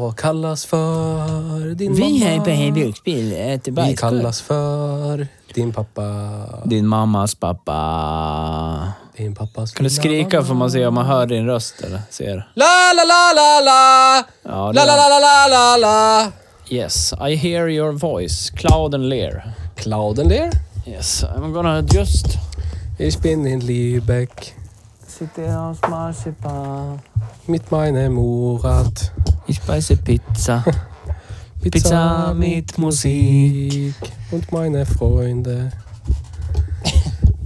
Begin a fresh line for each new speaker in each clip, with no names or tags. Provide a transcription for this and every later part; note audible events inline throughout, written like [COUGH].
Jag kallas för din
Vi
mamma.
här på eh, Hej Bruksbil äter
Vi
bajskorv.
kallas för din pappa.
Din mammas pappa.
Din pappas
Kan du skrika får man se om man hör din röst eller ser?
La, la, la, la, la!
Ja,
La,
det
la,
var-
la, la, la, la, la!
Yes, I hear your voice. Cloud and leer.
Clouden there
Yes, I'm gonna just...
Ich bin in Lübeck.
Sitter jag och marsipan.
Mit meinem Murat.
Ich speise pizza.
[LAUGHS]
Pizza mit Musik.
Und meine Freunde.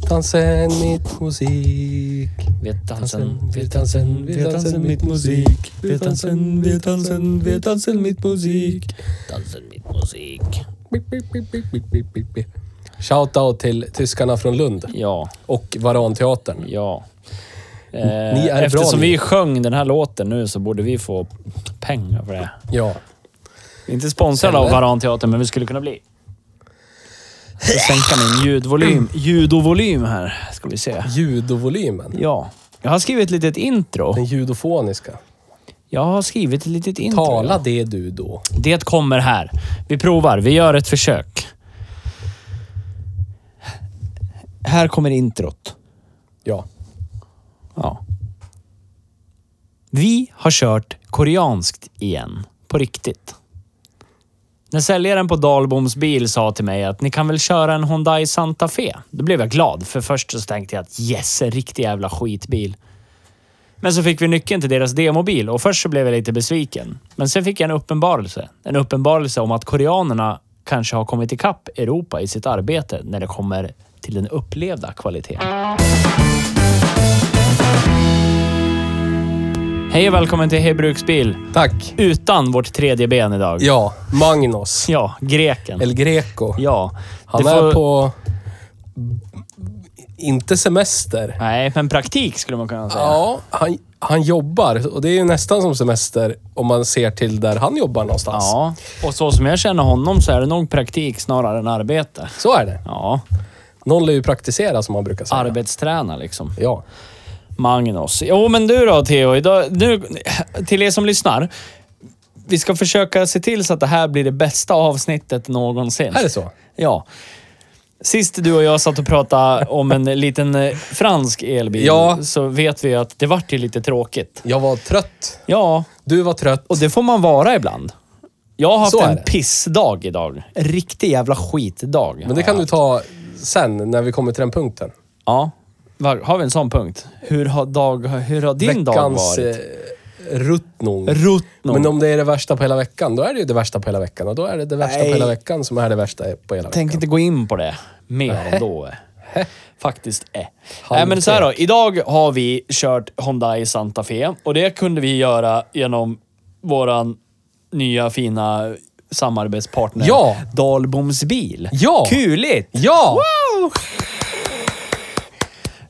Tanzen mit Musik.
Wir tanzen,
Tanzen, wir tanzen, wir tanzen mit Musik. Wir tanzen, wir tanzen, wir tanzen mit Musik.
tanzen mit musik.
Bip, bip, bip, bip, bip, bip, bip, bip. Shoutout till tyskarna från Lund
Ja,
och Varanteatern.
ja. Eh,
Ni är bra,
eftersom
ni.
vi sjöng den här låten nu så borde vi få pengar för det.
Ja.
Inte sponsrade av
Eller?
Varanteatern, men vi skulle kunna bli. Jag ska sänka min ljudvolym. Ljudovolym här, ska vi se.
Judovolymen.
Ja. Jag har skrivit ett litet intro.
Den judofoniska.
Jag har skrivit ett litet intro.
Tala det du då.
Det kommer här. Vi provar. Vi gör ett försök. Här kommer introt.
Ja.
Ja. Vi har kört koreanskt igen. På riktigt. När säljaren på Dalboms bil sa till mig att ni kan väl köra en Hyundai Santa Fe? Då blev jag glad, för först så tänkte jag att yes, en riktig jävla skitbil. Men så fick vi nyckeln till deras demobil och först så blev jag lite besviken. Men sen fick jag en uppenbarelse. En uppenbarelse om att koreanerna kanske har kommit ikapp Europa i sitt arbete när det kommer till den upplevda kvaliteten. Hej och välkommen till Hej Bruksbil.
Tack.
Utan vårt tredje ben idag.
Ja. Magnus.
Ja, greken.
El Greco.
Ja.
Han
det
är
får-
på... Inte semester.
Nej, men praktik skulle man kunna säga.
Ja, han, han jobbar. Och det är ju nästan som semester om man ser till där han jobbar någonstans.
Ja. Och så som jag känner honom så är det nog praktik snarare än arbete.
Så är det.
Ja.
Någon lär ju praktisera som man brukar säga.
Arbetsträna liksom.
Ja.
Magnus. Jo, men du då Theo. Idag, nu, till er som lyssnar. Vi ska försöka se till så att det här blir det bästa avsnittet någonsin.
Är det så?
Ja. Sist du och jag satt och pratade om en [LAUGHS] liten eh, fransk elbil
Ja.
så vet vi att det vart ju lite tråkigt.
Jag var trött.
Ja,
Du var trött.
och det får man vara ibland. Jag har haft
Så är
en
det.
pissdag idag. En riktig jävla skitdag.
Men det kan du ta sen när vi kommer till den punkten.
Ja. Var- Har vi en sån punkt? Hur har, dag, hur har din dag
Veckans eh,
varit? eh,
ruttnung.
Ruttnung.
Men om det är det värsta på hela veckan, då är det ju det värsta på hela veckan. Och då är det det värsta
Nej.
på hela veckan som är det värsta på hela
tänker
veckan.
inte gå in på det mer
Nej. [LAUGHS]
då. Faktiskt. Eh.
Halvtek.
Nej, men så här då. Idag har vi kört Hyundai Santa Fe och det kunde vi göra genom våran nya fina samarbetspartner
Ja.
Dalboms bil.
Ja.
Kuligt!
Ja!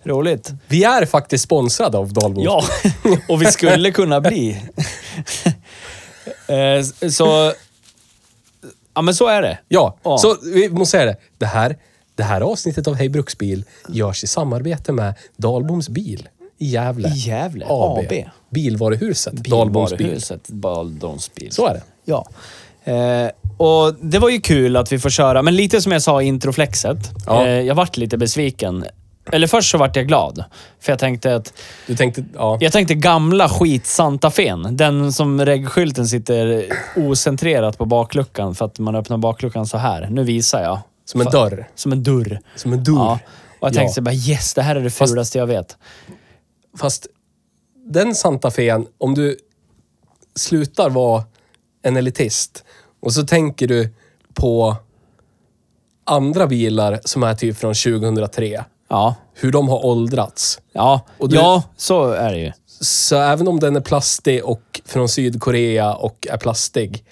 Roligt.
Vi är faktiskt sponsrade av Dalbo.
Ja, [LAUGHS] och vi skulle
[LAUGHS]
kunna bli. Eh, så... Ja, men så är det.
Ja,
Ja.
så vi måste säga det. Det här, det här avsnittet av Hej Bruksbil görs i samarbete med Dalboms bil i Gävle.
I Gävle,
AB.
AB.
Bilvaruhuset. Dalboms bil.
Bilvaruhuset Dalboms bil.
Så är det.
Ja. Eh, och det var ju kul att vi får köra, men lite som jag sa i introflexet.
Ja.
Eh, jag vart lite besviken. Eller först så vart jag glad. För jag tänkte att...
Du tänkte, ja.
Jag tänkte gamla skit Santa Fen. Den som regskylten sitter ocentrerat på bakluckan för att man öppnar bakluckan så här. Nu visar jag.
Som en
Fa-
dörr.
Som en dörr.
Som en dörr.
Ja. Och jag
Ja.
tänkte så bara yes, det här är det
Fast-
fulaste jag vet.
Fast den Santa Fean, om du slutar vara en elitist och så tänker du på andra bilar som är typ från 2003.
Ja.
Hur de har åldrats.
Ja.
Och du-
ja, så är det ju.
Så även om den är plastig och från Sydkorea och är plastig.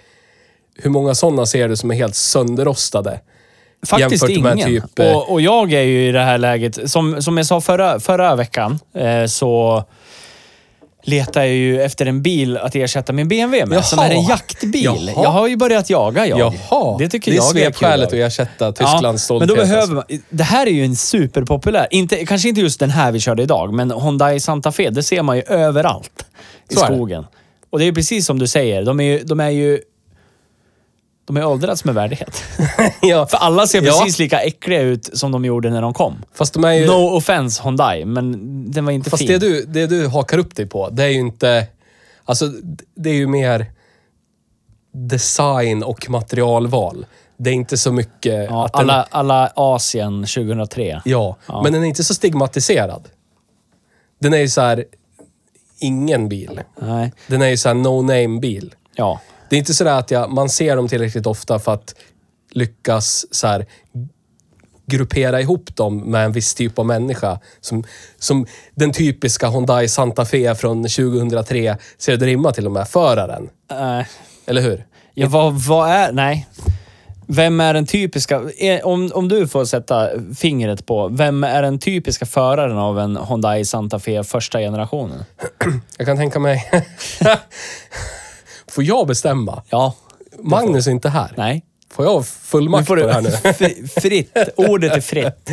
Hur många sådana ser du som är helt sönderrostade?
Faktiskt
Jämfört med
ingen.
typ, eh,
och, och jag är ju i det här läget, som, som jag sa förra, förra veckan, eh, så letar jag ju efter en bil att ersätta min BMW med,
Jaha.
som är en jaktbil.
Jaha.
Jag har ju börjat jaga jag.
Jaha!
Det tycker
det är
jag är kul.
svepskälet att ersätta Tysklands
ja, men
stolthet.
då behöver
alltså.
man, Det här är ju en superpopulär, inte, kanske inte just den här vi körde idag, men Hyundai Santa Fe, det ser man ju överallt i
Så är det.
skogen. Och det är ju precis som du säger, de är ju... De är ju de är åldrats med värdighet.
[LAUGHS] ja,
För alla ser
Ja.
precis lika äckliga ut som de gjorde när de kom.
fast de är ju...
No offense Hyundai, men den var inte
Fast
fin.
det du, det du hakar upp dig på, det är ju inte... Alltså, det är ju mer design och materialval. Det är inte så mycket
ja,
att den,
alla, alla Asien 2003.
ja,
Ja.
men den är inte så stigmatiserad. Den är ju så här ingen bil.
Nej.
Den är ju så här no-name-bil.
Ja.
Det är inte så där att jag, man ser dem tillräckligt ofta för att lyckas så här gruppera ihop dem med en viss typ av människa. Som, som den typiska Hyundai Santa Fe från 2003 ser det rimma till och med, föraren.
Nej.
Eller hur?
Eh, Ja, vad, vad är... Nej. Vem är den typiska... eh, Om, om du får sätta fingret på, vem är den typiska föraren av en Hyundai Santa Fe första generationen?
Jag kan tänka mig... [LAUGHS] får jag bestämma?
Ja.
Magnus är inte här.
Nej.
Får jag
Nu
fullmakt
får
på det här nu? [LAUGHS]
du [LAUGHS] fri- fritt. Ordet är fritt.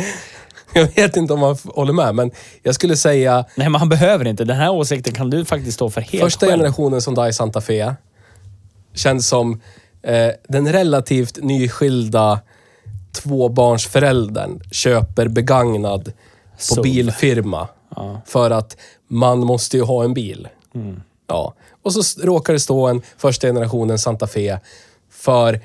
Jag vet inte om man f- håller med, men jag skulle säga
Nej, men han behöver inte. Den här åsikten kan du faktiskt stå för helt
Första
själv.
generationen som Dai Santa Fe känns som eh, den relativt nyskilda tvåbarnsföräldern köper begagnad på
Sov.
bilfirma. För att man måste ju ha en bil.
Mm.
Ja. Och så s- råkar det stå en första generationen Santa Fe för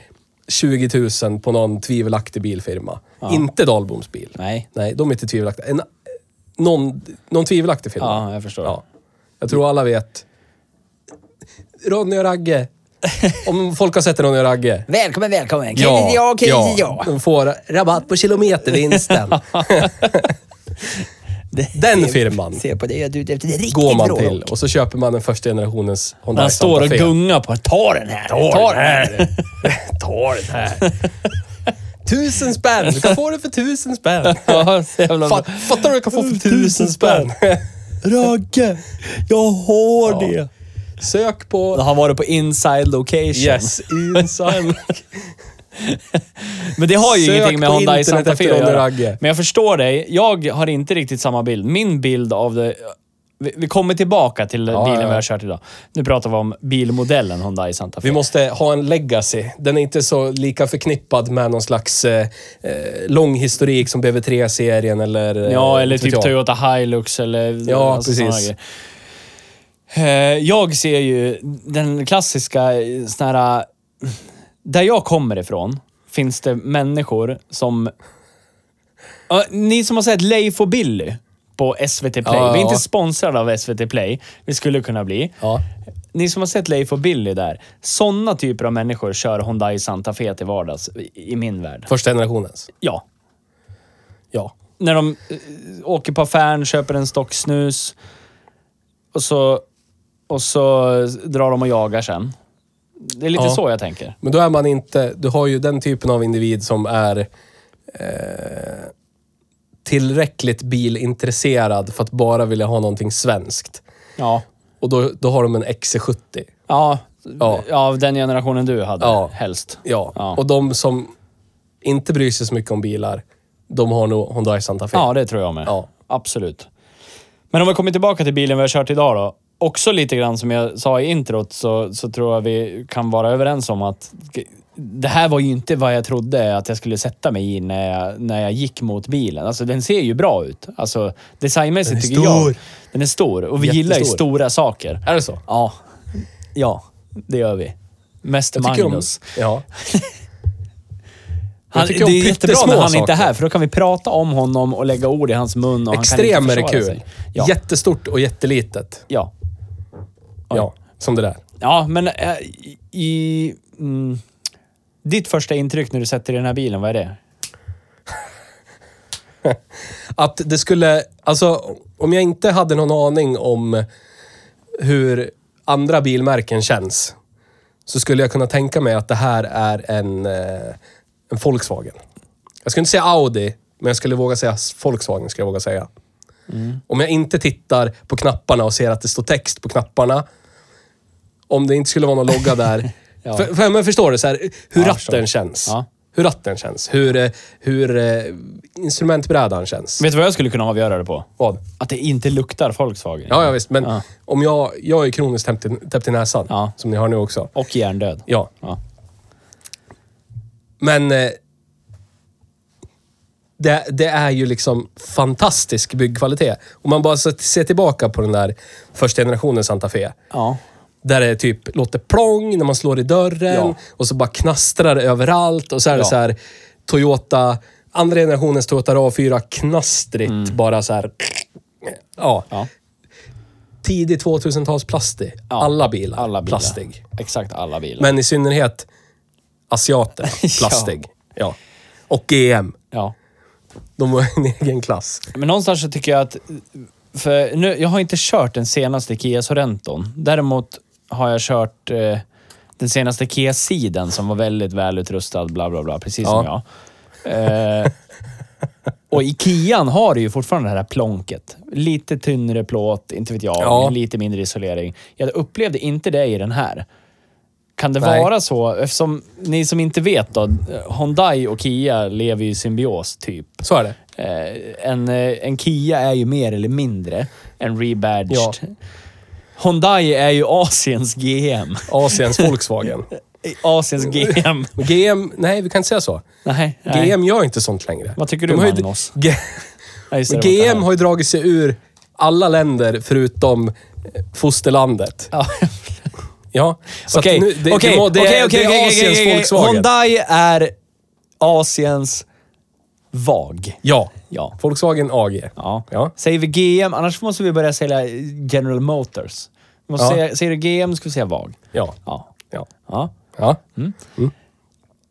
20 000 på någon tvivelaktig bilfirma. Inte Dahlboms bil.
Nej.
Nej, de är inte tvivelaktiga. En, eh, någon, någon tvivelaktig firma.
Ja, jag förstår.
Ja. Jag tror alla vet. Ronny och Ragge. Om folk har sett Ronny och Ragge.
Välkommen, välkommen.
De får rabatt på
[LAUGHS]
kilometervinsten. [LAUGHS] Den firman
se på dig att du är ute efter riktigt
går man
bra
till och så köper man den första generationens Honda
Han står
Santa
och
Fe.
gungar på Ta den här! Ta den här!
Ta den här. Tusen spänn! Du kan få det för tusen spänn.
[LAUGHS] [LAUGHS] Ja, så jävla bra.
Fa- Fattar du vad du kan få för tusen spänn? [LAUGHS]
Ragge, jag har
Ja. Sök på...
Han var på inside location.
Yes, inside.
Men det har ju
Sök
ingenting med
på
Honda i
internet
Santa Fe
efter
att
Ronny
göra.
Ragge.
Men jag förstår dig. Jag har inte riktigt samma bild. Min bild av det... Vi, vi kommer tillbaka till bilen
ja, ja.
vi har kört idag. Nu pratar vi om bilmodellen Honda i Santa Fe.
Vi måste ha en legacy. Den är inte så lika förknippad med någon slags eh, eh, lång historik som BV3-serien eller... eh,
Ja, eller
inte vet
typ
jag.
Toyota Hilux eller
Ja,
såna
precis.
grejer. Eh, Jag ser ju den klassiska eh, sån här... Där jag kommer ifrån finns det människor som... Ja, ni som har sett Leif och Billy på SVT Play.
Ja, ja,
Vi är inte
ja.
sponsrade av SVT Play. Vi skulle kunna bli.
Ja.
Ni som har sett Leif och Billy där. Såna typer av människor kör Hyundai Santa Fe till vardags i- i min värld.
Första generationens.
Ja,
Ja.
när de eh, åker på affären, köper en stock snus och så, och så drar de och jagar sen. Det är lite
Ja.
så jag tänker.
Men då är man inte... Du har ju den typen av individ som är eh, tillräckligt bilintresserad för att bara vilja ha någonting svenskt.
Ja.
Och då, då har de en E XC70.
Ja.
Ja.
Av den generationen du hade,
Ja.
helst.
Ja.
Ja.
Och de som inte bryr sig så mycket om bilar, de har nog Hyundai Santa Fe.
Ja, det tror jag med.
Typ. Ja.
Absolut. Men om vi kommer tillbaka till bilen vi har kört idag då. Också lite grann som jag sa i introt så, så tror jag vi kan vara överens om att det här var ju inte vad jag trodde att jag skulle sätta mig i när jag, när jag gick mot bilen. Alltså den ser ju bra ut. Alltså designmässigt tycker jag.
stor.
Den är stor. Och vi gillar ju
Jättestor.
stora saker.
Är det så?
Ja. Ja, det gör vi. Mest
Jag tycker om-
Magnus.
Ja.
Han, det
tycker om
är jättebra när
pyttesmå
han inte är
saker.
här, för då kan vi prata om honom och lägga ord i hans mun. Och han
Extremer
kan inte
är
försvara
kul.
Sig. Ja,
Jättestort och jättelitet.
ja.
Ja, som det där.
ja, men eh, i- i... Mm, ditt första intryck när du sätter dig i den här bilen, vad är det?
Att det skulle... Alltså, om jag inte hade någon aning om hur andra bilmärken känns så skulle jag kunna tänka mig att det här är en, eh, en Volkswagen. Jag skulle inte säga Audi, men jag skulle våga säga Volkswagen. Skulle jag våga säga.
Mm.
Om jag inte tittar på knapparna och ser att det står text på knapparna. Om det inte skulle vara någon logga
[LAUGHS]
där.
Ja.
för, för, men förstår du? Så här, hur
Ja, jag förstår.
ratten känns.
Ja.
Hur ratten känns. Hur, eh, hur eh, instrumentbrädan känns.
Vet du vad jag skulle kunna avgöra det på?
Vad?
Att det inte luktar Volkswagen.
Ja, ja visst. Men
Ja.
om jag, jag är kroniskt täppt i, täppt i näsan,
Ja.
som ni har nu också.
Och hjärndöd.
Ja,
Ja.
men eh, det, det är ju liksom fantastisk byggkvalitet. Om man bara så- ser tillbaka på den där första generationen Santa Fe.
ja.
Där det typ låter plong när man slår i dörren
Ja.
och så bara knastrar det överallt. Och så är det
Ja.
så här Toyota, andra generationens Toyota RAV4 knastrigt bara så här. Ja.
Mm. Ja.
Tidig 2000-tals plastig.
Ja.
Alla bilar.
Alla bilar.
Plastig.
Exakt alla bilar.
Men i synnerhet
[LAUGHS]
asiater. Plastig. ja. Och GM.
ja.
De var [LAUGHS] en egen klass.
Men någonstans så tycker jag att... För nu, jag har inte kört den senaste Kia Sorrenton. Däremot har jag kört eh, den senaste Kia Siden som var väldigt välutrustad, bla bla bla, precis som jag. Eh, och i Kian har du ju fortfarande det här plånket. Lite tynnare plåt, inte vet jag,
Ja.
men lite mindre isolering. Jag upplevde inte det i den här. Kan det
Nej.
vara så? Eftersom ni som inte vet då, Hyundai och Kia lever ju i symbios typ.
Så är det.
Eh, en, eh, en Kia är ju mer eller mindre en rebadged.
Ja.
Hyundai är ju
[LAUGHS]
Asiens GM.
Asiens Volkswagen.
Eh, Asiens GM.
Men GM, nej vi kan inte säga så.
Nej. nej.
GM gör inte sånt längre.
Vad tycker
De
du,
har ju-
Magnus?
G-
Nej, just det,
Men
det var inte
GM
här.
har ju dragit sig ur alla länder förutom eh, fosterlandet.
Ja.
Ja. så att
Okej,
nu-
okej,
det- det
okej, okej,
må- det är-
okej,
det är
okej,
Asiens
okej, okej.
Volkswagen.
Hyundai är Asiens VAG.
Ja.
Ja.
Volkswagen AG.
ja.
Ja.
Säger vi GM, annars måste vi börja sälja General Motors. Vi måste
Ja.
säga, säger du GM ska vi säga VAG.
Ja.
Ja. Mm.
Ja.
ja.
ja.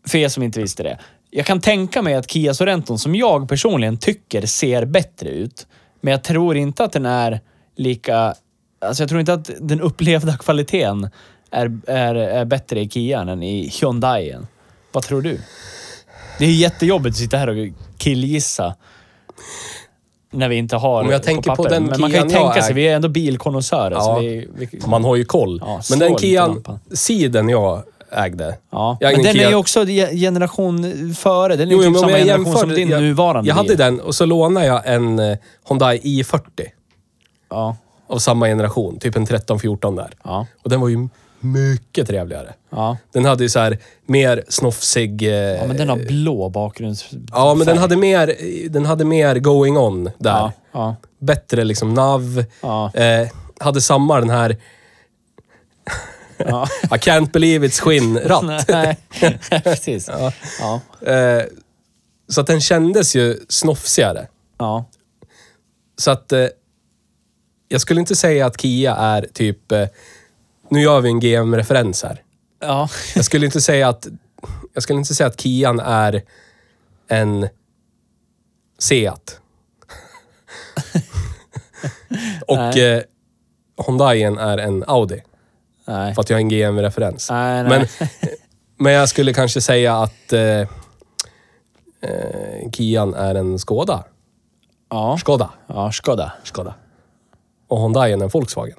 För er som inte visste det. Jag kan tänka mig att Kia Sorrenton, som jag personligen tycker ser bättre ut, men jag tror inte att den är lika... Alltså jag tror inte att den upplevda [LAUGHS] kvaliteten är, är, är bättre i Kia än i Hyundaien. Vad tror du? Det är jättejobbigt att sitta här och killgissa när vi inte har
Om jag tänker på
papper.
den
Men man kan
Kian
ju
jag
tänka
är-
sig, vi är ändå bilkonnässörer.
Ja.
så Vi, vi,
Man har ju koll.
Ja, slå
Men den
lite
Kian,
lampan.
siden jag ägde.
Ja,
Jag ägde
men
en
den
Kia-
är ju också ge- generation före. Den är
Jo,
ju
jo,
typ
men om
samma
jag
generation
jämför,
som din
jag,
nuvarande
Jag hade
bil.
den och så lånade jag en eh, Hyundai i40
Ja,
av samma generation. Typ en 13-14 där.
ja,
Och den var ju mycket trevligare.
ja.
Den hade ju så här mer snofsig... Eh,
Ja, men den har blå bakgrunds...
ja, men den
färg.
hade mer, den hade mer going on där.
Ja, ja.
Bättre liksom nav.
Ja.
Eh, hade samma den här [LAUGHS]
ja.
I can't believe it's
[LAUGHS]
skinnratt.
Nej, precis. Ja. Ja.
eh, så att den kändes ju snofsigare.
ja.
Så att... Eh, jag skulle inte säga att Kia är typ... Eh, nu gör vi en GM-referens här.
Ja.
Jag skulle inte säga att... Jag skulle inte säga att Kian är en
[LAUGHS]
Seat. Och
Nej.
eh, Hyundaien är en Audi.
Nej.
För att jag har en GM-referens.
Nej, nej.
Men, men jag skulle kanske säga att eh, eh, Kian är en Skoda.
Ja.
Skoda.
Ja, Skoda.
Skoda. Och Hyundaien är en Volkswagen.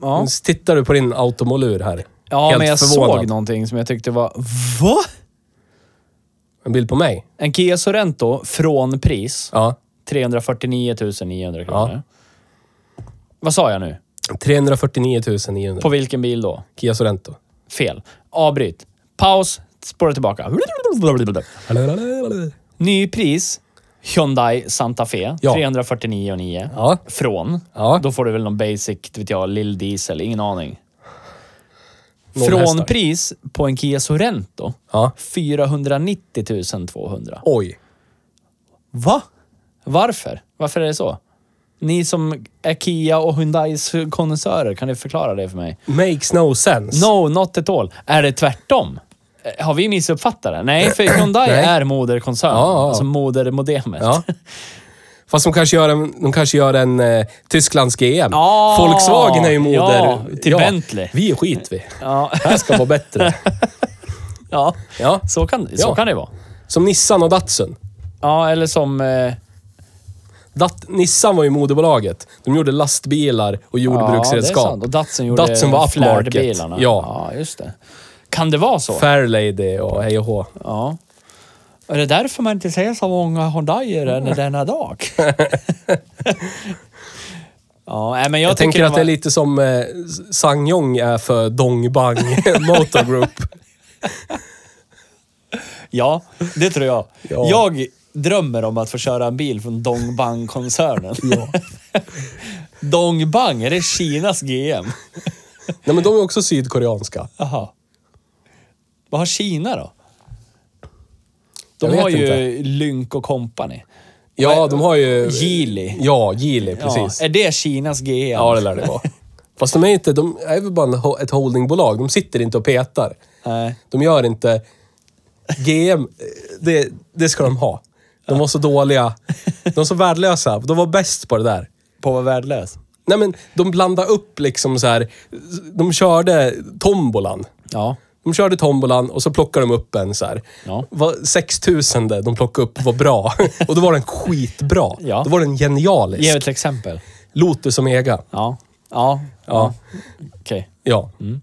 Ja,
Nu tittar du på din automolur här.
ja
Helt
men jag
förvånad.
såg någonting som jag tyckte var... Va?
En bild på mig?
En Kia Sorento från pris
Ja.
349 900 kronor. Vad sa jag nu?
349 900.
På vilken bil då?
Kia Sorento.
Fel. Avbryt. Paus. Spåra tillbaka. Nypris. Hyundai Santa Fe.
Ja.
349 900.
Ja.
Från.
Ja.
Då får du väl någon basic, inte vet jag, lill diesel. Ingen aning.
hästar.
Frånpris på en Kia Sorento.
Ja.
490 200.
Oj.
Va? Varför? Varför är det så? Ni som är Kia och Hyundais konnässörer, kan ni förklara det för mig?
Makes no sense.
No, not at all. Är det tvärtom? Eh, Har vi missuppfattat det? Nej,
[CLEARS THROAT]
för Hyundai
Nej.
är moderkoncern.
Ja, ja, ja.
Alltså modermodemet.
Ja. Fast de kanske gör en, de kanske gör en eh, Tysklands GM.
Ja,
Volkswagen är ju moder.
ja, till Bentley.
Vi är skit vi.
Ja.
Det här ska vara
[LAUGHS]
bättre.
[LAUGHS] Ja,
Ja.
Så, kan, så
Ja.
kan det vara.
Som Nissan och Datsun.
Ja, eller som... Eh,
Dat Nissan var ju moderbolaget. De gjorde lastbilar och
Ja,
jordbruksredskap.
det är sant. Och Datsun gjorde
Datsun var upmarket.
flärdebilarna.
Ja.
ja, just det. Kan det vara så?
Fairlady och hej och hå.
Ja. Är det därför man inte ser så många Hyundaier än
[LAUGHS]
denna dag? [LAUGHS] ja, nej, men jag,
Jag, tänker
tycker
att det är lite som eh, Sangyong är för Dongbang Motor Group.
Ja, det tror jag.
Ja.
Jag drömmer om att få köra en bil från Dongbang-koncernen. [LAUGHS] Dongbang, är det Kinas GM?
Nej, men de är också sydkoreanska.
Jaha. Vad har Kina då?
Jag
De
vet
har ju
inte.
Lynk och Company.
Ja, de har ju...
Geely.
Ja, Geely, precis.
Ja, är det Kinas GM?
Ja, det lär det vara. Fast de är inte... De är väl bara en ho- ett holdingbolag. De sitter inte och petar.
Nej.
De gör inte... GM, eh, det, det ska de ha. De var så dåliga. De var så värdelösa. De var bäst på det där.
På att vara värdelös?
Nej men, de blandade upp liksom så här. De körde tombolan.
Ja.
De körde tombolan och så plockade de upp en så här.
Ja.
Vad 6000 de plockade upp var bra. [LAUGHS] och då var den skitbra.
Ja.
Då var den genialisk.
Ge ett exempel.
Lotus Omega.
Ja. Ja.
Ja.
Okej.
ja.
Mm.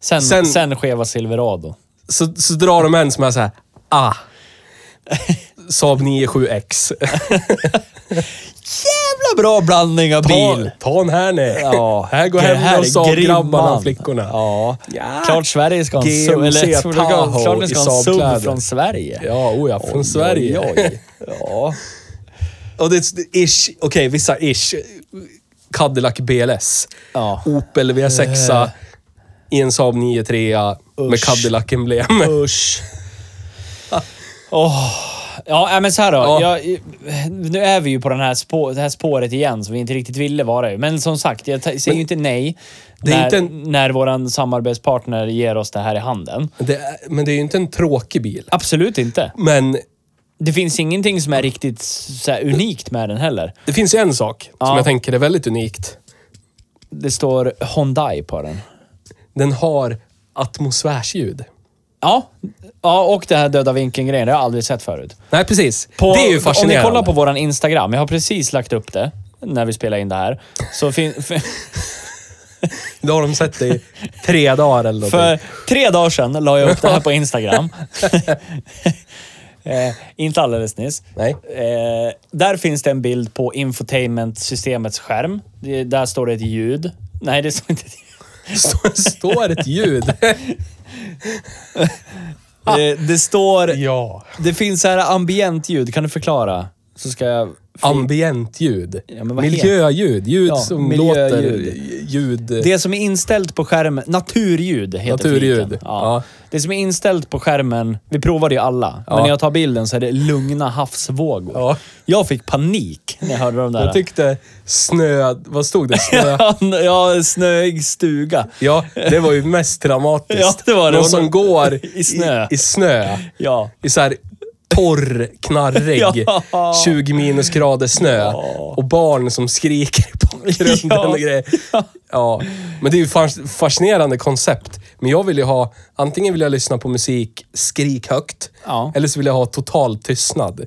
Sen,
Sen-
sen, skeva Silverado.
Så, så drar de en som är så här. Ah. Saab 97X.
Jävla bra blandning av
ta, ta en här nu.
Ja,
[LAUGHS] här går
det här
hem
är
och Saab-grabbarna
grimman.
och flickorna.
Ja.
Ja.
Klart Sverige ska ha en
GMC
sub. Eller klart
Tahoe
klart vi
i
ska ha en sub
Saab-kläder.
från Sverige.
Ja, oh ja, från Sverige.
Oj, oj. Ja.
[LAUGHS] Och det är ish, okej, vissa ish. Cadillac BLS.
Ja. Eh.
Opel V6. I en Saab 93 med
Usch.
Cadillac-emblem.
Usch. Åh. Ja, äh, men så här då.
Ja.
Jag, nu är vi ju på den här spå, det här spåret igen som vi inte riktigt ville vara i. Men som sagt, jag ta- säger ju inte nej
Det är
när,
inte en-
när vår samarbetspartner ger oss det här i handen.
[LAUGHS] Det är, men det är ju inte en tråkig bil.
Absolut inte.
Men
Det finns ingenting som är riktigt så här unikt med den heller.
det finns ju en sak som
Ja.
jag tänker är väldigt unikt.
Det står Hyundai på den.
Den har atmosfärsljud.
Ja, ja och det här döda vinkeln-grejen. Det har jag aldrig sett förut.
Nej, precis.
På,
det är ju fascinerande.
Om ni kollar på våran Instagram, jag har precis lagt upp det när vi spelar in det här. Så fin, [LAUGHS] f-
Då har de sett det [LAUGHS] i tre dagar eller någonting.
för tre dagar sedan la jag upp det här på Instagram. [LAUGHS] eh, inte alldeles nyss.
Nej.
Eh, där finns det en bild på infotainmentsystemets skärm. Det, där står det ett ljud. Nej, det står inte ett ljud. [LAUGHS]
Står- Står ett ljud.
Det, det står...
ja.
Det finns så här ambientljud. Kan du förklara? Så ska jag...
Ambientljud.
Ja, men vad heter-
miljöljud. Ljud
Ja,
som
miljöljud.
låter... Ljud.
Det som är inställt på skärmen... Naturljud heter
Typ. Naturljud,
fliken.
ja.
Det som är inställt på skärmen... Vi provade ju alla.
Ja.
Men när jag tar bilden så är det lugna havsvågor.
Ja.
Jag fick panik när jag hörde de där.
Jag tyckte snö... Vad stod det? Snö...
[LAUGHS] ja, snöig stuga.
Ja, det var ju mest dramatiskt.
Ja, det var det.
Någon som går
[LAUGHS] I snö.
I, i snö.
Ja.
I så här torr, knarrig,
[LAUGHS] Ja.
20 minusgrader snö.
Ja.
Och barn som skriker i bakgrunden
Ja.
och grejer. Ja. Men det är ju fas- fascinerande koncept. Men jag vill ju ha... Antingen vill jag lyssna på musik skrik högt.
Ja.
Eller så vill jag ha total tystnad.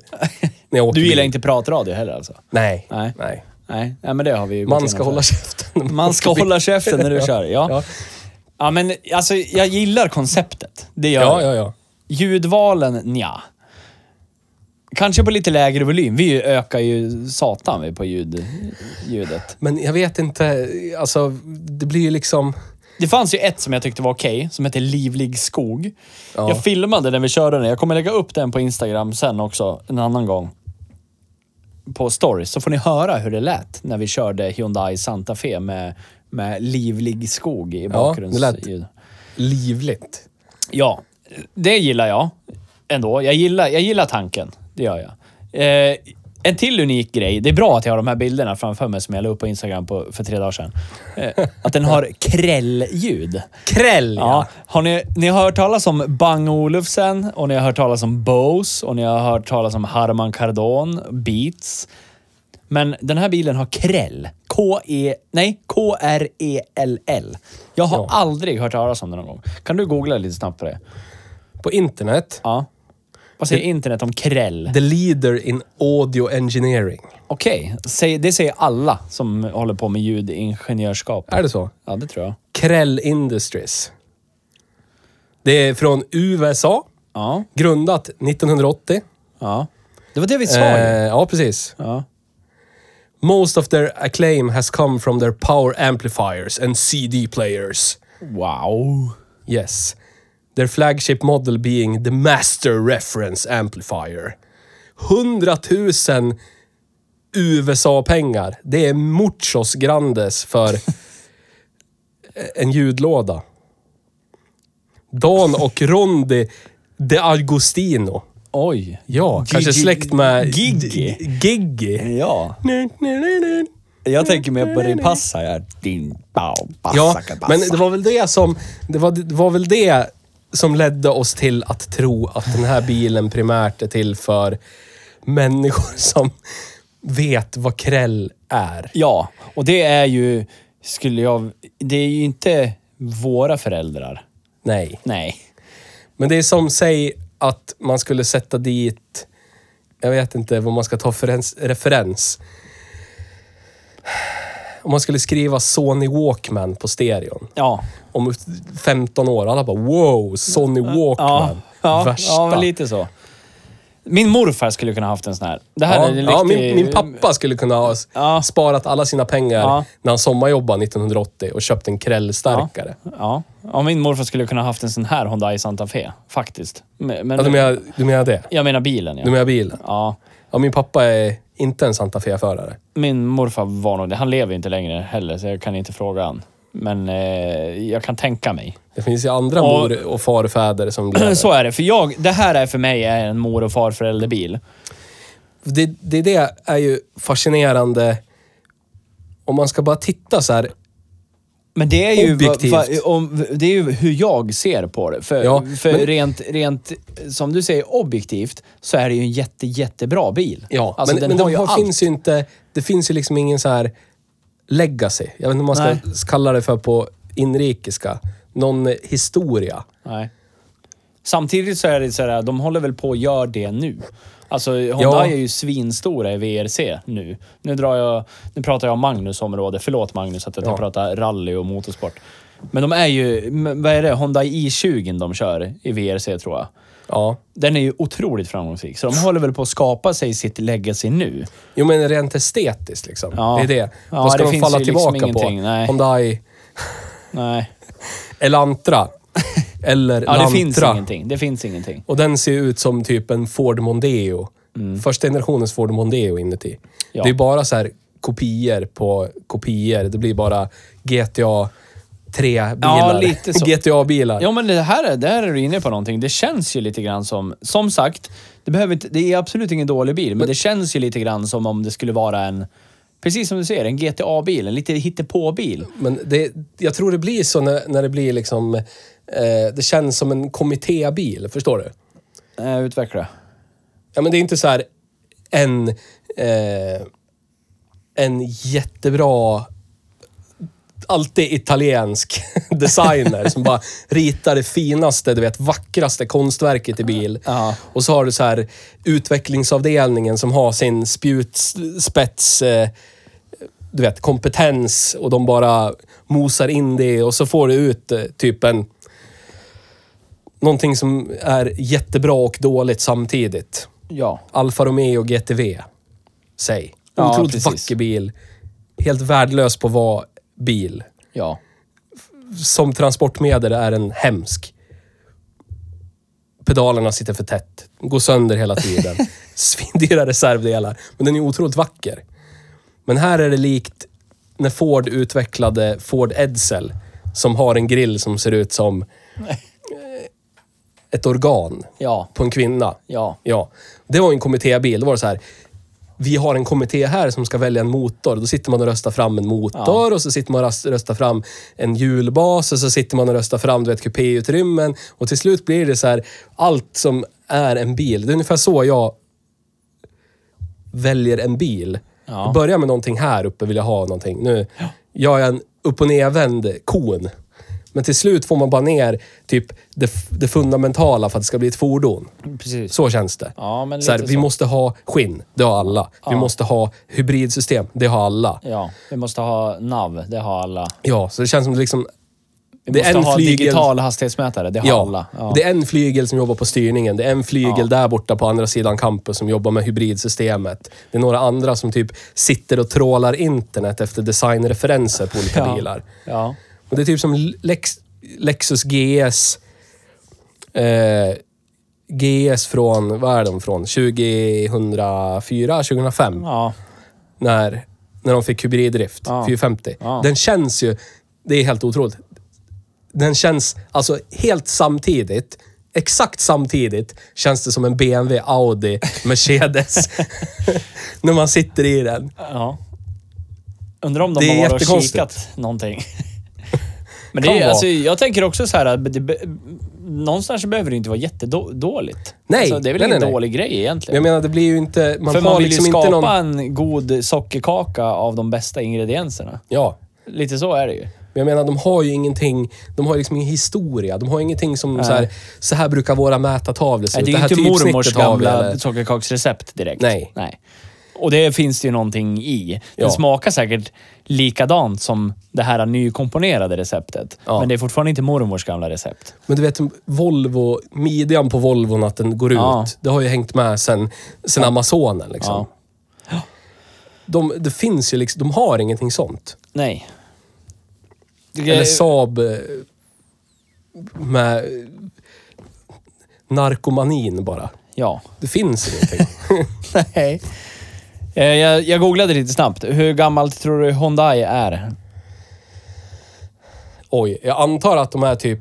När jag åker
Du gillar
bil.
inte pratradio heller alltså?
Nej.
Nej.
Nej.
Nej, nej men det har vi ju gått
Man
igenom
ska
för.
hålla käften. när
Man ska
åker bil.
hålla
[LAUGHS]
käften när du kör, ja. ja. men alltså jag gillar konceptet. Det gör
Ja,
jag.
ja, ja.
Ljudvalen, nja. Kanske på lite lägre volym. Vi ökar ju satan vi på ljud, ljudet.
Men jag vet inte, alltså det blir ju liksom...
Det fanns ju ett som jag tyckte var okej, som hette Livlig skog.
Ja.
Jag filmade när vi körde den. Jag kommer lägga upp den på Instagram sen också, en annan gång. På stories, så får ni höra hur det lät när vi körde Hyundai Santa Fe med, med Livlig skog i
Ja, det lät
bakgrundsljud.
livligt.
Ja, det gillar jag ändå. Jag gillar, jag gillar tanken. Det gör jag. Eh, en till unik grej. Det är bra att jag har de här bilderna framför mig som jag la upp på Instagram på, för tre dagar sedan. Eh, att den har krällljud.
Kräll,
Ja. Har ni, ni har hört talas om Bang Olufsen och ni har hört talas om Bose och ni har hört talas om Harman Kardon, Beats. Men den här bilen har kräll. K-E... Nej, K-R-E-L-L. Jag har
Ja.
aldrig hört talas om den någon gång. Kan du googla lite snabbt på det?
På internet.
Ja. Vad säger internet om kräll?
The leader in audio engineering.
Okej, säg- det säger alla som håller på med ljudingenjörskap.
Är det så?
Ja, det tror jag.
Krell Industries. Det är från USA.
Ja,
Grundat 1980.
ja. Det var det vi sa
Eh,
ju.
ja, precis.
Ja.
Most of their acclaim has come from their power amplifiers and CD players.
Wow.
Yes. Their flagship model being the Master Reference Amplifier. 100 000 USA-pengar. Det är muchos grandes för [LAUGHS] en ljudlåda. Dan och Rondi De Agostino.
Oj.
Ja, kanske
Gigi-
släkt med...
Gigi.
Giggi.
Ja. Jag tänker mer på Ripassa här. Din bau, bassa,
Ja,
kabassa.
men det var väl det som... Det var, det var väl det som ledde oss till att tro att den här bilen primärt är till för människor som vet vad kräll är.
Ja, och det är ju... Skulle jag... Det är ju inte våra föräldrar.
Nej.
Nej.
Men det är som, säg att man skulle sätta dit... Jag vet inte vad man ska ta för ens- referens. Om man skulle skriva Sony Walkman på stereon.
Ja.
Om 15 år, alla bara wow, Sony
Ja,
Walkman.
ja,
Värsta.
ja, men lite så. Min morfar skulle kunna haft en sån här. Det här
Ja,
är en
ja,
riktig...
min, min pappa skulle kunna ha s-
Ja.
sparat alla sina pengar
Ja.
när han sommarjobbade 1980 och köpt en krällstarkare. Ja.
Ja. ja, min morfar skulle kunna haft en sån här Hyundai Santa Fe. Faktiskt. Men, men,
du, menar, du menar det?
jag menar bilen, ja.
Du menar bilen?
ja.
Ja, min pappa är inte en Santa Fe-förare.
Min morfar var nog det. Han lever ju inte längre heller, så jag kan inte fråga han. Men eh, jag kan tänka mig. [CLEARS THROAT]
Det finns ju andra
Och-
mor och farfäder
[CLEARS THROAT]
som blir det.
Så är det. För jag, det här är för mig är en mor och farförälderbil.
det, det. Det är ju fascinerande. Om man ska bara titta så här.
Men det är, ju
Objektivt.
va, va, om, det är ju hur jag ser på det. För,
Ja,
för
men-
rent, rent, som du säger, objektivt så är det ju en jätte, jättebra bil.
Ja,
alltså,
men,
den
men
har
de
ju
har
allt.
finns ju inte... Det finns ju liksom ingen så här legacy. Jag vet inte vad man ska
Nej.
kalla det för på inrikiska. Någon eh, historia.
Nej. Samtidigt så är det sådär, de håller väl på att göra det nu. Alltså, Hyundai
Ja.
är ju svinstora i VRC nu. Nu, drar jag, nu pratar jag om Magnus område. Förlåt Magnus att jag
Ja.
pratar rally och motorsport. Men de är ju, men vad är det, Hyundai i20 de kör i VRC tror jag.
Ja.
Den är ju otroligt framgångsrik, så de håller väl på att skapa sig sitt legacy nu.
Jo, men rent estetiskt liksom.
Ja.
Det är det.
Ja,
Vad ska
det
de
finns
falla
ju liksom
tillbaka på?
ingenting, nej.
Hyundai
Nej, [LAUGHS]
Elantra. Eller
ja,
Lantra.
det finns ingenting. Det finns ingenting.
Och den ser ut som typ en Ford Mondeo. Första generationens Ford Mondeo inuti.
Mm. Ja.
Det är bara så här kopior på kopior. Det blir bara GTA 3-bilar.
Ja,
[LAUGHS]
lite så.
GTA-bilar.
Ja, men det här, är- där är du inne på någonting. Det känns ju lite grann som... Som sagt, det, behöver inte, det är absolut ingen dålig bil, men, det känns ju lite grann som om det skulle vara en... Precis som du säger, en GTA-bil. En lite hittepå-bil.
Men det, jag tror det blir så när, när det blir liksom... Eh, det känns som en kommittébil, förstår du?
Eh, utveckla.
Ja, men det är inte så här en, eh, en jättebra, alltid italiensk [LAUGHS] designer som bara ritar det finaste, du vet, vackraste konstverket i bil.
Ja.
Och så har du så här utvecklingsavdelningen som har sin spjutspets... Eh, du vet, kompetens och de bara mosar in det och så får du ut eh, typ en... Någonting som är jättebra och dåligt samtidigt.
Ja.
Alfa Romeo GTV. Säg.
Ja,
Otroligt
precis.
vacker bil. Helt värdelös på att vara bil.
Ja.
Som transportmedel är den hemsk. Pedalerna sitter för tätt. Går sönder hela
[LAUGHS]
tiden. Svindyra reservdelar. Men den är otroligt vacker. Men här är det likt när Ford utvecklade Ford Edsel. Som har en grill som ser ut som ett organ
Ja.
på en kvinna.
Ja.
Ja. Det var ju en kommittébil. Då var det så här. Vi har en kommitté här som ska välja en motor. Då sitter man och röstar fram en motor och så sitter man och ras- röstar fram en hjulbas och så sitter man och röstar fram du vet, kupéutrymmen. Och till slut blir det så här, allt som är en bil. Det är ungefär så jag väljer en bil.
Ja.
Jag börjar med någonting här uppe, vill jag ha någonting. Nu gör jag en upp och nervänd kon. Men till slut får man bara ner typ det, f- det fundamentala för att det ska bli ett fordon.
Precis.
Så känns det.
Ja, men
så här,
lite
Vi
så.
måste ha skinn, det har alla. Vi måste ha hybridsystem, det har alla.
Ja, vi måste ha NAV. Det har alla.
Ja, så det känns som det liksom...
Vi
Det är
måste
en
ha
flygel-
digital hastighetsmätare. Det har
Ja,
alla. Ja.
Det är en flygel som jobbar på styrningen. Det är en flygel
Ja.
där borta på andra sidan campus som jobbar med hybridsystemet. Det är några andra som typ sitter och trålar internet efter designreferenser på olika
Ja.
bilar.
Ja.
Och det är typ som Lex, Lexus GS. Eh, GS från, vad är de från? 2004, 2005?
Ja.
när, när de fick hybriddrift,
Ja.
450.
Ja.
Den känns ju, det är helt otroligt. Den känns, alltså helt samtidigt, exakt samtidigt, känns det som en BMW,
[LAUGHS]
Audi, Mercedes. [LAUGHS] när man sitter i den.
ja. Undrar om de
Det är
har varit och
jättekonstigt.
kikat någonting. [LAUGHS] Men
Kan
det är,
vara.
alltså, jag tänker också så här att det, be- någonstans behöver det inte vara jättedåligt.
Nej,
alltså, det är väl
nej,
ingen
nej, nej.
dålig grej
Men
egentligen.
jag menar, det blir ju inte... Man
För
tar
man vill
liksom
ju
inte
skapa
någon...
en god sockerkaka av de bästa ingredienserna.
Ja.
Lite så är det ju.
Men jag menar, de har ju ingenting... De har ju liksom ingen historia. De har ingenting som så här, så här brukar våra mätartavlor se
Nej,
ut.
det är ju
här
inte
typsnittet
mormors
har vi,
gamla
eller-
sockerkaksrecept direkt.
Nej.
Nej. Och det finns det ju någonting i. Den
Ja.
smakar säkert likadant som det här nykomponerade receptet.
Ja.
Men det är fortfarande inte mormors gamla recept.
Men du vet, Volvo, midjan på Volvon att den går
Ja.
ut. Det har ju hängt med sen, sen Amazonen liksom.
Ja.
De, det finns ju liksom, de har ingenting sånt.
Nej.
Eller Saab eh, med eh, narkomanin bara.
Ja.
Det finns ingenting.
[LAUGHS] Nej. Eh, Jag, jag googlade lite snabbt. Hur gammalt tror du Hyundai är?
Oj, jag antar att de är typ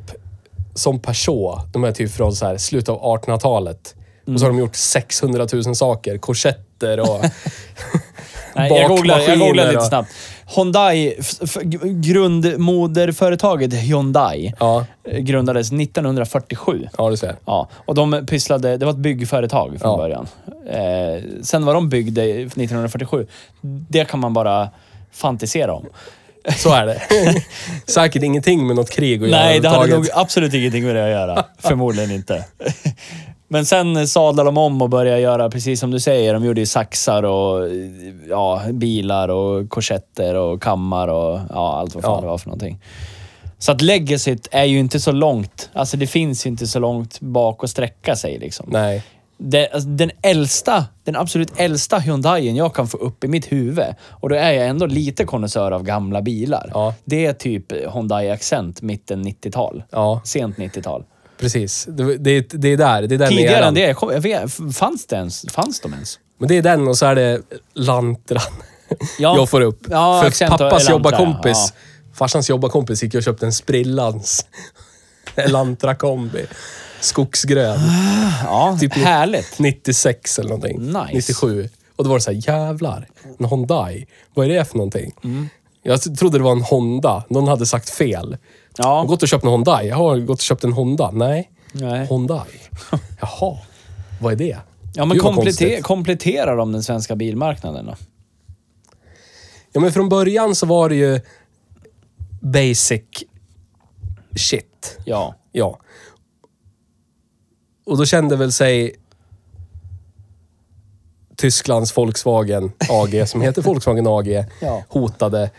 som Peugeot. De är typ från så här, slutet av 1800-talet. Och
Mm.
så har de gjort 600 000 saker. Korsetter och...
[LAUGHS] Nej, jag googlade, jag googlade
bakmaskiner
lite
och-
snabbt. Hyundai, f- f- grundmoderföretaget Hyundai,
Ja,
eh, grundades 1947.
ja du ser.
Ja, och de pysslade, det var ett byggföretag från
Ja.
början. Eh, sen vad de byggde 1947, det kan man bara fantisera om.
Så är det. [LAUGHS] Säkert ingenting med något krig att göra
Nej, det hade nog
överhuvudtaget.
absolut ingenting med det att göra. Förmodligen inte. Men sen sadlade de om och började göra precis som du säger. De gjorde ju saxar och ja, bilar och korsetter och kammar och ja, allt vad fan
Ja.
det var för någonting. Så att legacyt är ju inte så långt. Alltså det finns ju inte så långt bak att sträcka sig liksom.
Nej.
Det, alltså, den äldsta, den absolut äldsta Hyundaien jag kan få upp i mitt huvud, och då är jag ändå lite konnässör av gamla bilar.
Ja.
Det är typ Hyundai Accent, mitten 90-tal.
Ja,
Sent 90-tal.
precis. Det, det, det är där. Det är den
Tidigare
eran.
än det, jag kom, jag vet, f- fanns det ens? Fanns de ens?
Men det är den och så är det Lantran
Ja.
jag får upp.
Ja,
För
accent och
pappas
Elantra,
jobbarkompis, farsans jobbarkompis gick och köpte en sprillans [LAUGHS] Elantra-kombi. Skogsgrön.
Ja,
Typ-
härligt.
96 eller någonting.
Nice.
97. Och då var det så här, jävlar. En Hyundai. Vad är det för någonting?
Mm.
Jag trodde det var en Honda. Någon hade sagt fel. Jag har
Ja.
gått och köpt en Hyundai. Jag har gått och köpt en Honda. Nej.
Nej. [LAUGHS]
Hyundai. Jaha. Vad är det?
Ja, men
Gud, vad
komplette-
konstigt.
kompletterar de den svenska bilmarknaden då?
Ja, men från början så var det ju basic shit.
Ja.
Ja. Och då kände väl sig Tysklands Volkswagen AG, som
[LAUGHS]
heter Volkswagen AG,
Ja.
hotade.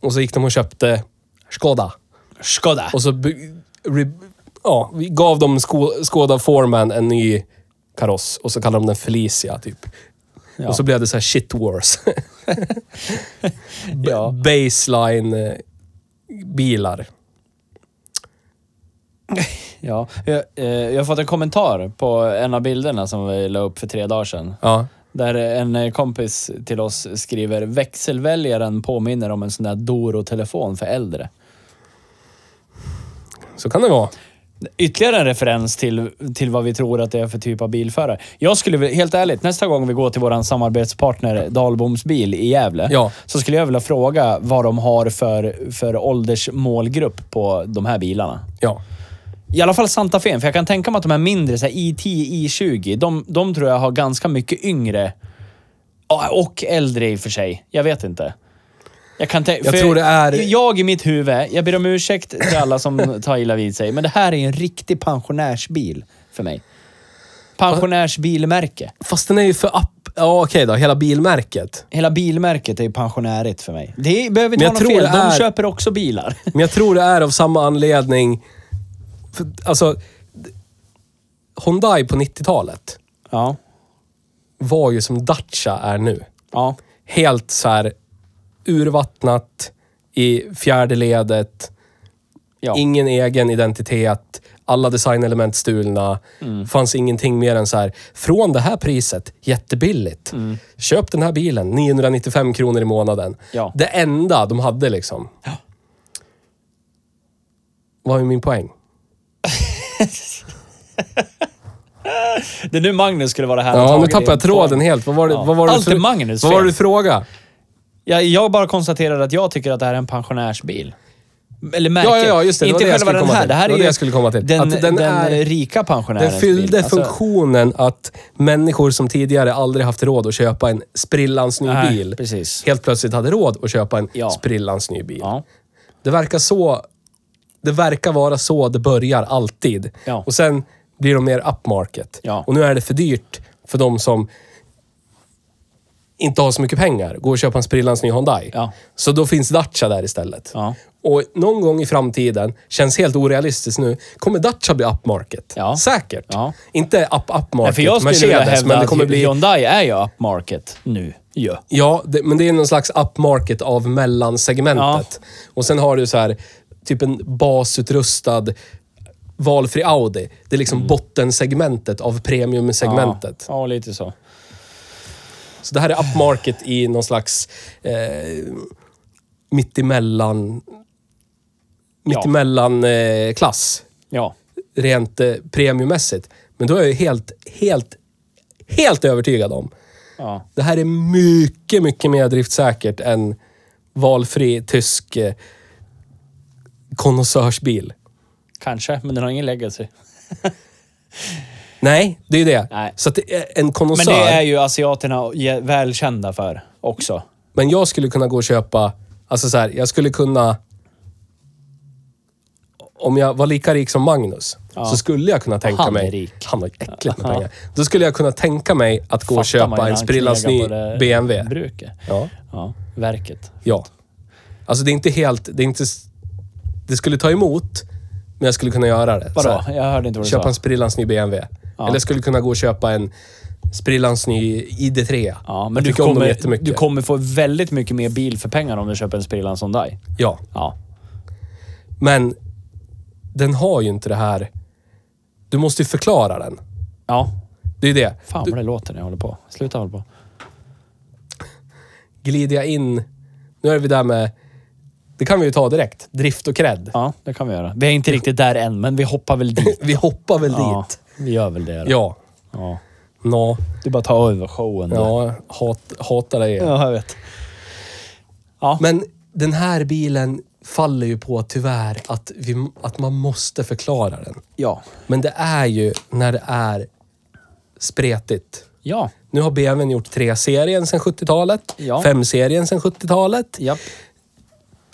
Och så gick de och köpte Skoda.
Skoda.
Och så by- re- ja, vi gav de Sko- Skoda Foreman en ny kaross och så kallade de den Felicia, typ.
Ja.
Och så blev det så här shit wars. B-
[LAUGHS]
eh,
Ja.
Baseline-bilar.
Ja. Jag, eh, jag har fått en kommentar på en av bilderna som vi la upp för tre dagar sedan.
Ja.
Där en eh, kompis till oss skriver växelväljaren påminner om en sån där Doro-telefon för äldre.
Så kan det vara.
Ytterligare en referens till, till vad vi tror att det är för typ av bilförare. Jag skulle väl- helt ärligt, nästa gång vi går till vår samarbetspartner Dahlboms bil i Gävle,
Ja.
så skulle jag vilja fråga vad de har för, för åldersmålgrupp på de här bilarna.
Ja.
I alla fall Santa Fe, för jag kan tänka mig att de här mindre, så här i10, i20, de, de tror jag har ganska mycket yngre Ja, och äldre i och för sig. Jag vet inte. Jag, kan tän-
Jag
för
tror det är-
Jag i mitt huvud, jag ber om ursäkt till
[LAUGHS]
alla som tar illa vid sig, men det här är en riktig pensionärsbil för mig. Pensionärsbilmärke.
Fast den är ju för app... Ja, okej då. Hela bilmärket.
Hela bilmärket är ju pensionärigt för mig. Det behöver
Men jag
inte vara något
tror
fel,
det
de
är-
köper också bilar. [LAUGHS]
Men jag tror det är av samma anledning... För, alltså... d- Hyundai på 90-talet
Ja.
var ju som Dacia är nu.
Ja.
Helt så här urvattnat i fjärde ledet.
ja.
Ingen egen identitet. Alla designelement stulna.
Mm.
Fanns ingenting mer än så här, från det här priset, jättebilligt.
Mm.
Köp den här bilen, 995 kronor i månaden.
Ja.
Det enda de hade liksom.
Ja.
Vad är min poäng?
Det är nu Magnus skulle vara här och
Ja, nu
tagit
tappade jag
din
tråden
form.
helt. Vad var det,
Ja.
vad var det
Allt
du,
är Magnus
Vad var
fel.
det du frågade?
Jag, jag bara konstaterar att jag tycker att det här är en pensionärsbil. Eller märke.
Ja, ja, ja, just det. Det var
Inte
det jag
själva
skulle
den
komma
här.
till.
Det här
Det
är
var
ju
det jag skulle komma till.
den,
Att den
den,
är-
rika pensionärens
Den fyllde
bil. Alltså,
funktionen att människor som tidigare aldrig haft råd att köpa en sprillans ny
Nej,
bil,
precis.
helt plötsligt hade råd att köpa en
Ja.
sprillans ny bil.
Ja.
Det verkar så... Det verkar vara så det börjar alltid.
Ja.
Och sen blir de mer upmarket.
Ja.
Och nu är det för dyrt för de som inte har så mycket pengar. Gå och köpa en sprillans ny Hyundai.
Ja.
Så då finns Dacia där istället.
Ja.
Och någon gång i framtiden, känns helt orealistiskt nu, kommer Dacia bli upmarket.
Ja.
Säkert.
Ja.
Inte up-upmarket
Nej, för jag skulle vilja
Mercedes,
hävda
men det kommer
att
bli...
Hyundai är ju upmarket nu. Ja.
Ja, det, men det är någon slags upmarket av mellansegmentet. Och sen har du så här, typ en basutrustad valfri Audi. Det är liksom bottensegmentet av premiumsegmentet.
Mm. Ja, lite så.
Så det här är upmarket i någon slags eh, mittemellan... Mittemellan eh, klass.
Ja.
Rent eh, premiummässigt. Men då är jag ju helt, helt, helt övertygad om
ja.
det här är mycket, mycket mer driftsäkert än valfri tysk eh, konnässörsbil.
Kanske, men den har ingen legacy.
Nej, det är ju det.
Nej.
Så att det är en
Men
konnässör.
det
Men,
är ju asiaterna ge- välkända för också.
jag skulle kunna gå och köpa... Alltså så här, jag skulle kunna... Om jag var lika rik som Magnus, så skulle jag kunna tänka
Han är
mig...
rik.
Han har ju äckligt med pengar. Då skulle jag kunna tänka mig att gå och
Fattar man ju
köpa
när
en
han
sprillans
knegar
ny
på det
BMW.
Bruket.
Ja.
Ja, verket.
Ja. Alltså det är inte helt... Det, är inte, det skulle ta emot, men jag skulle kunna göra det. Så
Vadå?
här,
Jag hörde inte vad du
Köpa
sa.
en sprillans ny BMW. Eller jag skulle kunna gå och köpa en sprillans ny ID3.
Ja, men
jag
du
tycker om dem
kommer,
jättemycket.
du kommer få väldigt mycket mer bil för pengar om du köper en sprillans Hyundai.
Ja,
Ja.
men den har ju inte det här... Du måste ju förklara den.
Ja.
Det är ju det.
Fan vad det låter när jag håller på. Sluta hålla på.
Glider jag in... Nu är vi där med... Det kan vi ju ta direkt. Drift och cred.
Ja, det kan vi göra. Vi är inte riktigt där än, men vi hoppar väl dit.
[LAUGHS] Vi hoppar väl
Ja,
dit.
vi gör väl det. då.
Ja.
Ja.
Nå.
Du bara tar över showen. då.
Ja, hat, hatar dig.
ja jag vet. Ja.
Men den här bilen faller ju på tyvärr att, vi, att man måste förklara den.
ja.
Men det är ju när det är spretigt.
Ja.
Nu har BMWn gjort tre serien sedan 70-talet.
Ja.
Fem serien sedan 70-talet.
Japp.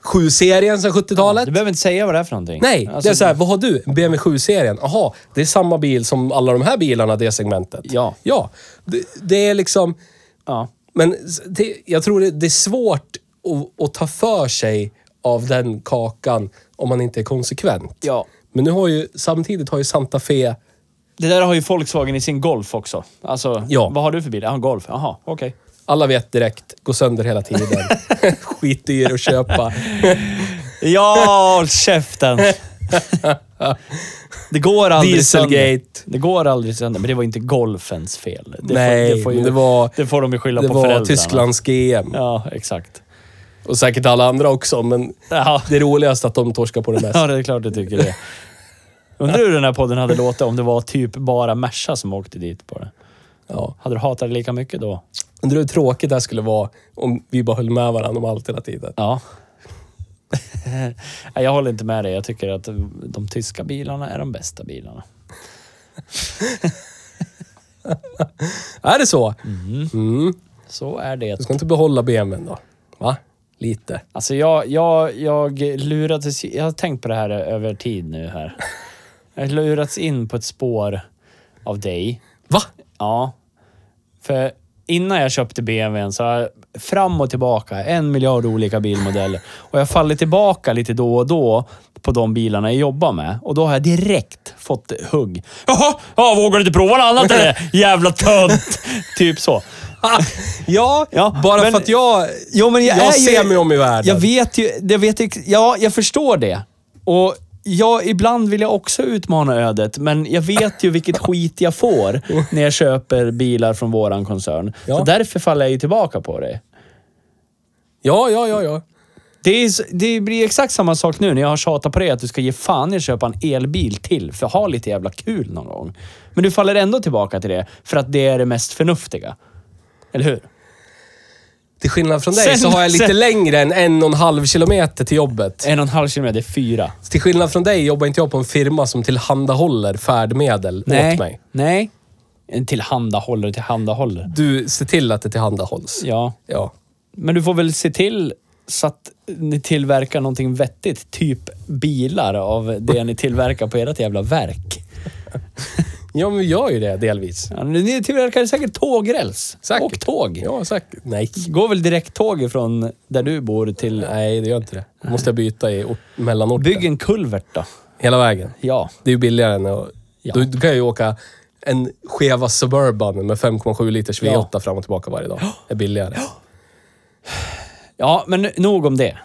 Sju serien sedan 70-talet.
Du behöver inte säga vad det är för någonting.
Nej,
Alltså,
det är så här, vad har du? En BMW 7-serien? Jaha, det är samma bil som alla de här bilarna, det segmentet.
Ja.
Ja. Det, det är liksom...
Ja.
Men s- det, jag tror det, det är svårt att, att ta för sig av den kakan om man inte är konsekvent.
Ja.
Men nu har ju, samtidigt har ju Santa Fe...
Det där har ju Volkswagen i sin Golf också. Alltså,
Ja.
vad har du för bil? Ja, Golf. Jaha, okej.
Alla vet direkt, går sönder hela tiden. [LAUGHS] Skitdyr att köpa.
Ja, håll käften! [LAUGHS] Det går aldrig sönder.
Dieselgate.
Det går aldrig sönder, men det var inte golfens fel. Det
Nej, men det var-
det får de ju skylla
Det
på
var
föräldrarna.
Tysklands GM.
Ja, exakt.
Och säkert alla andra också, men
Ja. [LAUGHS]
det är roligast att de torskar på det mest.
ja, det är klart du tycker det. Undrar hur den här podden hade låtit om det var typ bara Merca som åkte dit på det.
Ja.
Hade du hatat det lika mycket då?
Undrar hur tråkigt det här skulle vara om vi bara höll med varandra om allt hela tiden.
Ja. [LAUGHS] Nej, jag håller inte med dig. Jag tycker att de tyska bilarna är de bästa bilarna.
Är det så?
Mhm.
Mm.
Så är det.
Du ska inte behålla BMWn då? Va?
[LAUGHS]
Lite.
Alltså jag, jag, jag lurades... Jag har tänkt på det här över tid nu [LAUGHS] här. Jag har lurats in på ett spår av dig.
Va?
Ja. För innan jag köpte BMWn så har jag fram och tillbaka en miljard olika bilmodeller. Och jag faller tillbaka lite då och då på de bilarna jag jobbar med. Och då har jag direkt fått hugg. Jaha, ja, vågar du inte prova något annat eller? [LAUGHS] Jävla tönt! typ så.
Ja,
Ja,
bara
men-
för att jag...
Jo, men jag,
Jag
är ju-
ser mig om i världen.
Jag vet ju, jag vet ju, ja, jag förstår det. Och jag, ibland vill jag också utmana ödet, men jag vet ju vilket skit jag får när jag köper bilar från våran koncern.
Ja.
Så därför faller jag ju tillbaka på det.
Ja, ja, ja, ja.
Det, är, s- det blir exakt samma sak nu när jag har tjatat på dig att du ska ge fan i att köpa en elbil till för ha lite jävla kul någon gång. Men du faller ändå tillbaka till det för att det är det mest förnuftiga. Eller hur?
Till skillnad från dig
Sen-
så har jag lite
sen-
längre än en och en halv kilometer till jobbet.
En och en halv kilometer, det är fyra.
Till skillnad från dig jobbar inte jag på en firma som tillhandahåller färdmedel åt mig.
Nej. En tillhandahåller, tillhandahåller.
Du ser till att det tillhandahålls.
Ja.
Ja.
Men du får väl se till så att ni tillverkar någonting vettigt. Typ bilar av det ni tillverkar på ert jävla verk.
Ja, men vi gör ju det delvis.
Ja, ni tillverkar säkert tågräls.
Säkert.
Och tåg.
Ja, säkert. Nej.
Går väl direkt tåg ifrån där du bor till...
Nej, det gör inte det. Då måste jag byta i or- mellanorten.
Bygg en kulvert då.
Hela vägen.
Ja.
Det är ju billigare än att...
Ja.
Då, då kan jag ju åka en skeva Suburban med 5,7 liters V8 fram och tillbaka varje dag. Det är billigare.
Ja, men nog om det.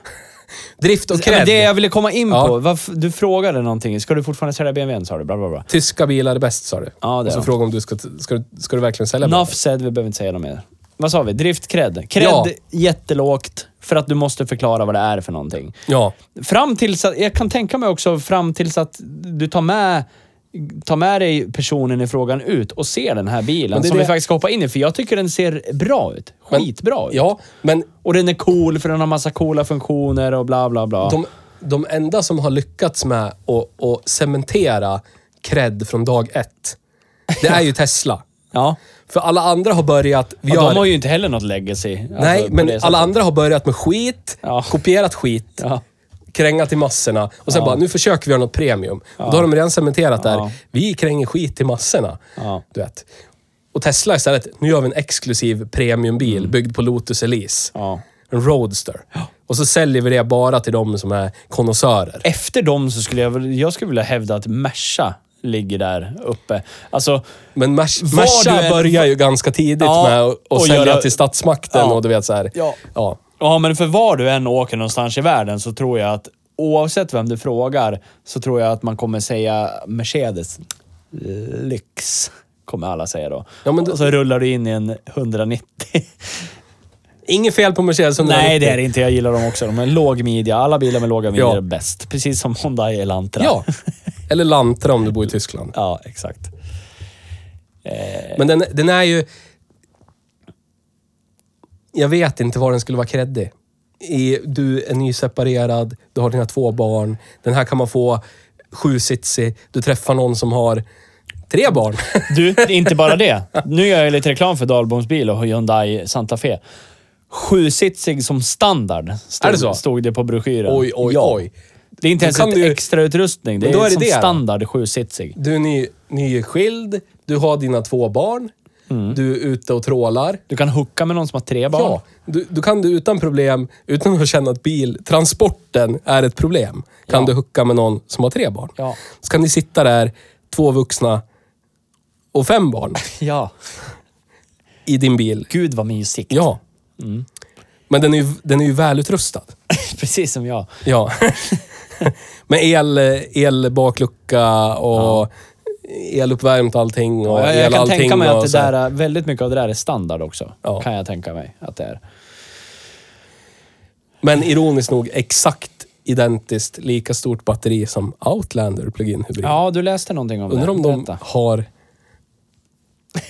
Drift och
Ja,
cred.
men det jag ville komma in
Ja.
på. Varför, du frågade någonting. Ska du fortfarande sälja BMWn sa du? Bla, bla, bla.
Tyska bilar är bäst, sa du.
Ja, det
och
är
så
de.
frågade om du ska, ska, du- ska du verkligen sälja bilar?
Enough said, vi behöver inte säga något mer. Vad sa vi? Driftcred. Cred,
Ja.
jättelågt. För att du måste förklara vad det är för någonting.
Ja.
Fram tills att, jag kan tänka mig också fram tills att du tar med, tar med dig personen i frågan ut och ser den här bilen
Men det är
som vi
det-
faktiskt ska hoppa in i. För jag tycker den ser bra ut.
Men-
Skitbra ut.
Ja, men
Och den är cool för den har massa coola funktioner och bla bla bla.
de, de enda som har lyckats med att, att cementera cred från dag ett, det är ju Tesla.
Ja.
För alla andra har börjat... Vi
Och
gör-
de har ju inte heller något legacy. alltså,
Nej,
på det
men alla
sättet.
andra har börjat med skit,
Ja.
kopierat skit,
Ja.
krängat till massorna och sen
Ja.
bara, nu försöker vi göra något premium. Och då har de redan cementerat där,
Ja.
vi kränger skit till massorna.
Ja.
Du vet. Och Tesla istället, nu gör vi en exklusiv premiumbil byggd på Lotus Elise.
Mm. Ja.
En Roadster. Och så säljer vi det bara till de som är konnässörer.
Efter dem så skulle jag, väl- jag skulle vilja hävda att Merca ligger där uppe. Alltså,
Men Merc-
Var du
Merca
än-
börjar ju ganska tidigt
Ja,
med att
och
och sälja
göra-
till statsmakten
Ja.
och du vet så här.
Ja.
Ja.
Ja, men för var du än åker någonstans i världen så tror jag att oavsett vem du frågar så tror jag att man kommer säga Mercedes eh, lyx, kommer alla säga då.
Ja, men då-
Och så rullar du in i en 190.
Inget fel på Mercedes 190.
Nej, det är det inte. Jag gillar dem också. De är låg midja. Alla bilar med låga midjor
Ja.
är bäst. Precis som Hyundai Elantra.
Ja. Eller Lantra om du bor i Tyskland.
Ja, exakt.
Men den, den är ju... Jag vet inte var den skulle vara kreddig. I, du är nyseparerad, du har dina två barn. Den här kan man få sjusitsig. Du träffar någon som har tre barn.
Du, inte bara det. Nu gör jag lite reklam för Dahlboms bil och Hyundai Santa Fe. Sjusitsig som standard, stod,
Är det så?
stod det på broschyren.
[LAUGHS] Oj, oj, oj.
Det är inte
Då
ens
kan
ett
du ju-
extra utrustning. Det
Men
är,
då är det
som
det.
standard sjusitsig.
Du är ny, nyskild, du har dina två barn. Du är ute och trålar.
Du kan hooka med någon som har tre barn.
Ja, du, du kan du utan problem, utan att känna att biltransporten är ett problem, kan
Ja.
du hucka med någon som har tre barn.
Ja.
Så kan ni sitta där, två vuxna och fem barn
ja.
i din bil.
Gud vad mysigt.
Ja.
Mm.
Men den är, ju, den är ju välutrustad.
[LAUGHS] Precis som jag. [LAUGHS]
Ja. med el, elbaklucka och eluppvärmt allting och
jag jag kan
allting
tänka mig att
och
det
så här.
där, är- väldigt mycket av det där är standard också.
Ja.
Kan jag tänka mig att det är.
Men ironiskt nog exakt identiskt lika stort batteri som Outlander plug-in hybrid.
Ja, du läste någonting om
Undrar
det.
om de
Berätta. [LAUGHS]
har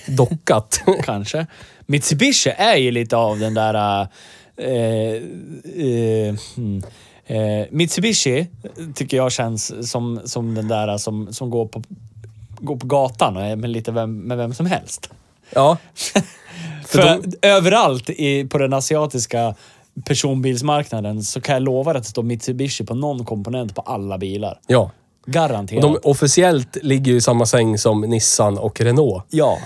dockat. [LAUGHS]
Kanske. Mitsubishi är ju lite av den där... eh, eh, mm, eh, Mitsubishi tycker jag känns som, som den där som, som går, på, går på gatan och är med lite vem, med vem som helst.
ja.
För, överallt i, på den asiatiska personbilsmarknaden så kan jag lova att det står Mitsubishi på någon komponent på alla bilar.
ja.
Garanterat.
Och de officiellt ligger ju i samma säng som Nissan och Renault.
Ja.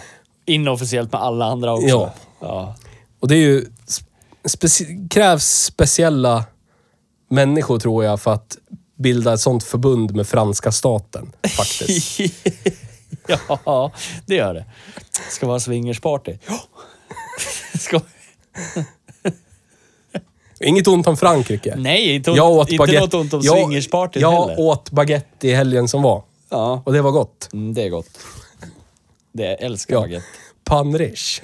Inofficiellt med alla andra också.
Ja.
ja.
Och det är ju... Speci krävs speciella människor tror jag för att bilda ett sånt förbund med franska staten
[LAUGHS]
faktiskt.
Ja, [LAUGHS] det gör det. Ska vara swingersparty. Ja. [LAUGHS] Ska...
Inget ont om Frankrike.
Nej, inte,
Jag åt
inte
baguette.
något ont om
jag,
swingersparty
Jag
heller.
åt baguette i helgen som var.
Ja,
Och det var gott.
mm, det är gott. Det jag älskar
Ja.
jag. Ja.
Panrish.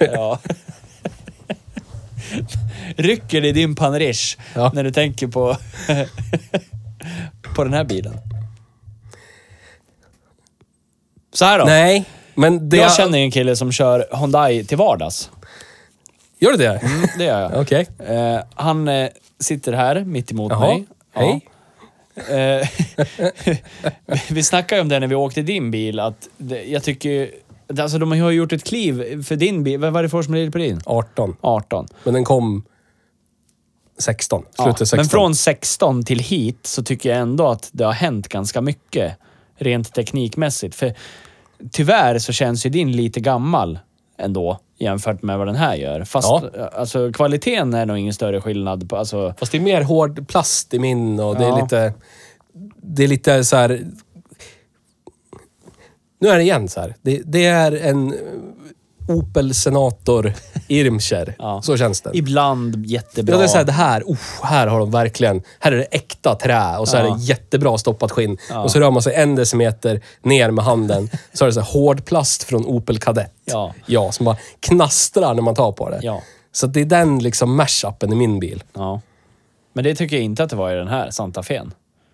Rycker det i din panrish
Ja.
när du tänker på, på den här bilen? Så här då.
Nej, men det...
jag känner ju en kille som kör Hyundai till vardags.
Gör du det?
Det gör jag.
[LAUGHS] Okej.
Eh, han eh, sitter här mitt emot
Jaha.
mig. Ja.
Hej.
Eh, [LAUGHS] vi snackade ju om det när vi åkte i din bil, att det, jag tycker ju- Alltså de har ju gjort ett kliv för din bil. Vad vad är det för årsmodell på din?
18.
18.
Men den kom 16. Slutet
Ja,
16.
Men från 16 till hit så tycker jag ändå att det har hänt ganska mycket rent teknikmässigt. För tyvärr så känns ju din lite gammal ändå jämfört med vad den här gör. Fast
Ja.
alltså, kvaliteten är nog ingen större skillnad. På, alltså,
Fast det är mer hård plast i min och det är
Ja.
lite... Det är lite så här... Nu är det igen så här. Det, det är en eh, Opel
[LAUGHS]
Senator Irmscher.
Ja.
Så känns den.
ibland jättebra.
Ja, det är så här, det här, oh, här har de verkligen, här är det äkta trä och så är
Ja.
det jättebra stoppat skinn. Och så rör man sig en decimeter ner med handen, så är det så här hård plast från Opel Kadett.
Ja.
ja, som bara knastrar när man tar på det.
Ja.
Så det är den liksom mashupen i min bil.
Ja. Men det tycker jag inte att det var i den här Santa Fen.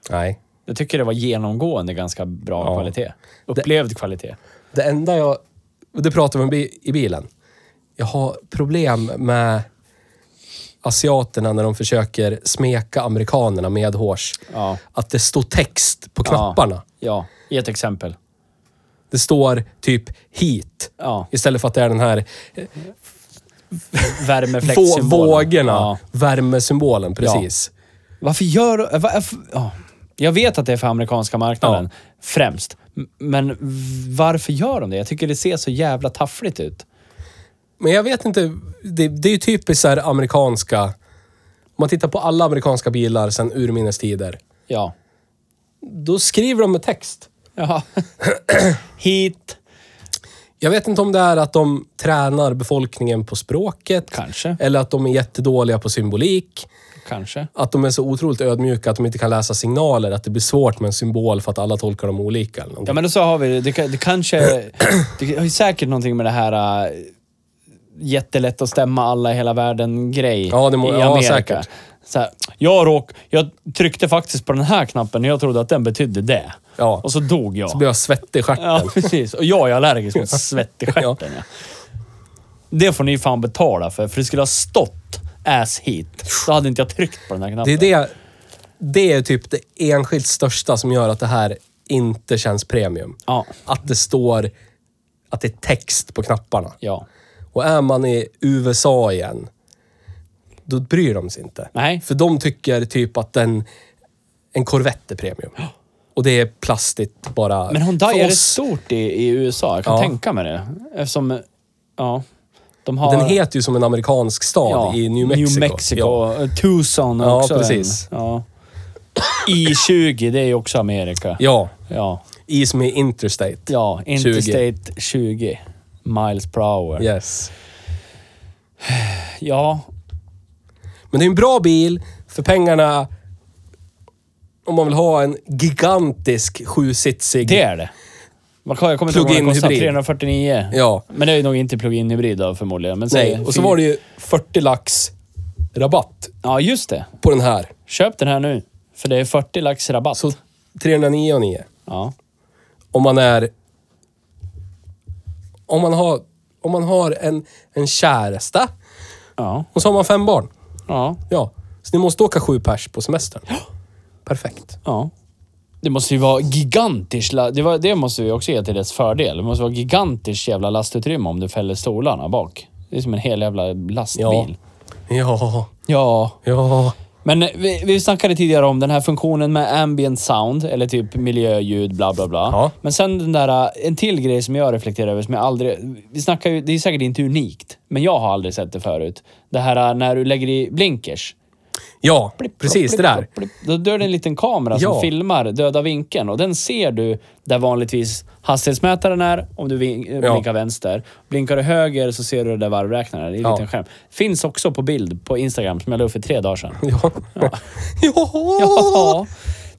Nej.
Jag tycker det var genomgående ganska bra kvalitet. Upplevd kvalitet.
Det enda jag... och Det pratade vi om bi- i bilen. Jag har problem med asiaterna när de försöker smeka amerikanerna med
Ja.
Att det står text på knapparna.
Ja, i ett exempel.
Det står typ heat.
Ja.
Istället för att det är den här vå-
Värmefläktsymbolen.
vågorna,
Ja.
värmesymbolen. Precis.
Varför gör du... Varför, ja. Jag vet att det är för amerikanska marknaden, främst. M- Men varför gör de det? Jag tycker det ser så jävla taffligt ut.
Men jag vet inte. Det, det är ju typiskt så här amerikanska... Om man tittar på alla amerikanska bilar sedan urminnes tider.
Ja.
Då skriver de med text.
ja. [CLEARS THROAT] Hit.
Jag vet inte om det är att de tränar befolkningen på språket.
Kanske.
Eller att de är jättedåliga på symbolik.
Kanske.
Att de är så otroligt ödmjuka att de inte kan läsa signaler. Att det blir svårt med en symbol för att alla tolkar dem olika. Eller
Ja,
någonting.
men då så har vi det. Det, kan- det kanske... Det har ju säkert någonting med det här äh, jättelätt att stämma alla i hela världen-grej
Ja, det må-
i
ja,
Amerika.
säkert.
Så här, jag, råk, jag tryckte faktiskt på den här knappen och jag trodde att den betydde det.
Ja.
Och så dog jag.
Så blir jag svettig i stjärten.
Ja,
[LAUGHS]
precis. Och jag är allergisk mot svett i stjärten. Ja. Det får ni ju fan betala för, för det skulle ha stått ass hit. Då hade inte jag tryckt på den här
Det är
knappen.
det, det är typ det enskilt största som gör att det här inte känns premium.
Ja.
Att det står att det är text på knapparna.
Ja.
Och är man i USA igen, då bryr de sig inte.
Nej.
För de tycker typ att en, en Corvette är premium. Och det är plastigt bara.
Men Hyundai
för
är det
oss.
stort i, i USA. Jag kan
Ja.
tänka mig det. Eftersom, ja. De har...
Den heter ju som en amerikansk stad
ja,
i New Mexico.
New Mexico.
Ja.
Tucson är
Ja,
också
precis.
En, ja. I20, det är ju också Amerika.
ja.
Ja.
I som är Interstate.
Ja, Interstate 20. miles per hour.
Yes.
Ja,
Men det är en bra bil för pengarna. Om man vill ha en gigantisk sjusitsig.
Det är det. Vad kan- Jag kommer inte ihåg vad den
Plug-in
kostar.
hybrid.
349.
Ja.
Men det är ju nog inte plug-in hybrid då förmodligen. Men
Nej, och så var det ju 40 lax rabatt
Ja, just det.
på den här.
Köp den här nu. För det är 40 lax rabatt.
Så 309 och 9.
Ja.
Om man är... Om man har, om man har en, en käresta
Ja.
och så har man fem barn.
Ja.
Ja. Så ni måste åka sju pers på semestern. Perfekt.
Ja. Det måste ju vara gigantiskt. la- Det, var, det måste vi också ge till dess fördel. Det måste vara gigantiskt jävla lastutrymme om du fäller stolarna bak. Det är som en hel jävla
Ja.
lastbil.
Ja.
ja.
Ja.
Men eh, vi, vi snackade tidigare om den här funktionen med ambient sound, eller typ miljöljud, bla bla bla.
Ja.
Men sen den där, äh, en till grej som jag reflekterar över som jag aldrig... Vi snackar ju, det är säkert inte unikt, men jag har aldrig sett det förut. Det här äh, när du lägger i blinkers.
Ja, precis det
Plopp,
där.
plopp, plopp. Då dör det en liten kamera som
Ja.
filmar döda vinkeln och den ser du där vanligtvis hastighetsmätaren är om du vin- eh,
Ja.
blinkar vänster. Blinkar du höger så ser du där varvräknaren. Det är en
Ja.
liten skärm. Finns också på bild på Instagram som jag la upp för tre dagar sedan.
Ja. Ja.
Ja,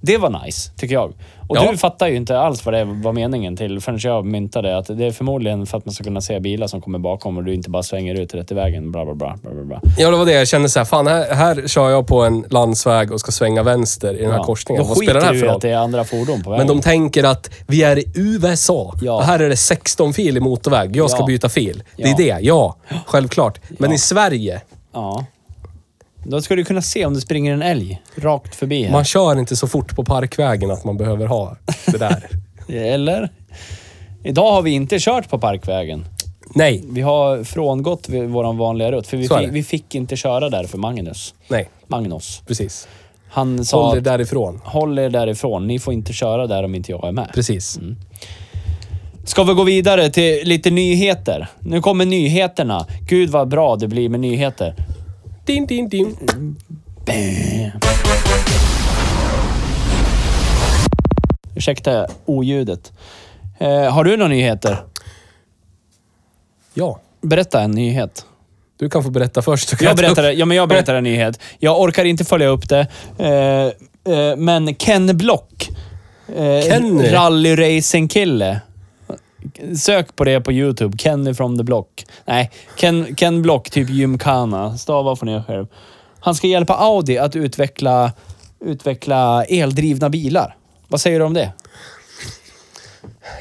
det var nice, tycker jag. Och
Ja.
du fattar ju inte alls vad det var meningen till förrän jag myntade att det är förmodligen för att man ska kunna se bilar som kommer bakom och du inte bara svänger ut rätt i vägen. Bla, bla, bla, bla, bla, bla.
Ja, det var det. Jag kände så här, fan här, här kör jag på en landsväg och ska svänga vänster i den här
Ja.
korsningen.
Då
Vad spelar det här
skiter du
för
i att
roll?
det är andra fordon på vägen.
Men de tänker att vi är i USA.
Ja.
Och här är det 16 fil i motorväg. Jag ska
Ja.
byta fil. Det
Ja.
är det, ja. Självklart. Men i Sverige,
Ja. Då ska du kunna se om det springer en älg rakt förbi här.
man kör inte så fort på parkvägen att man behöver ha det
[LAUGHS]
där.
Eller? Idag har vi inte kört på parkvägen.
nej,
Vi har frångått vi- vår vanliga rutt, för vi,
Så är
fi-
det.
vi fick inte köra där för Magnus.
nej.
Magnus.
Precis.
Han sa
Håll er
att-
därifrån.
Håll er därifrån. Ni får inte köra där om inte jag är med.
Precis.
Ska vi gå vidare till lite nyheter? Nu kommer nyheterna. Gud vad bra det blir med nyheter.
Din, din, din.
Ursäkta oljudet. Eh, har du några nyheter?
Ja.
Berätta en nyhet.
Du kan få berätta först. så kan
Jag
ta upp-
berättar, ja, men jag berättar en nyhet. Jag orkar inte följa upp det. Eh, eh, men Ken Block. Eh,
Kenny?
Rallyracing-kille. Sök på det på YouTube. Kenny from the Block. Nej, Ken, Ken Block, typ gymkana. Stava får ni själv. Han ska hjälpa Audi att utveckla, utveckla eldrivna bilar. Vad säger du om det?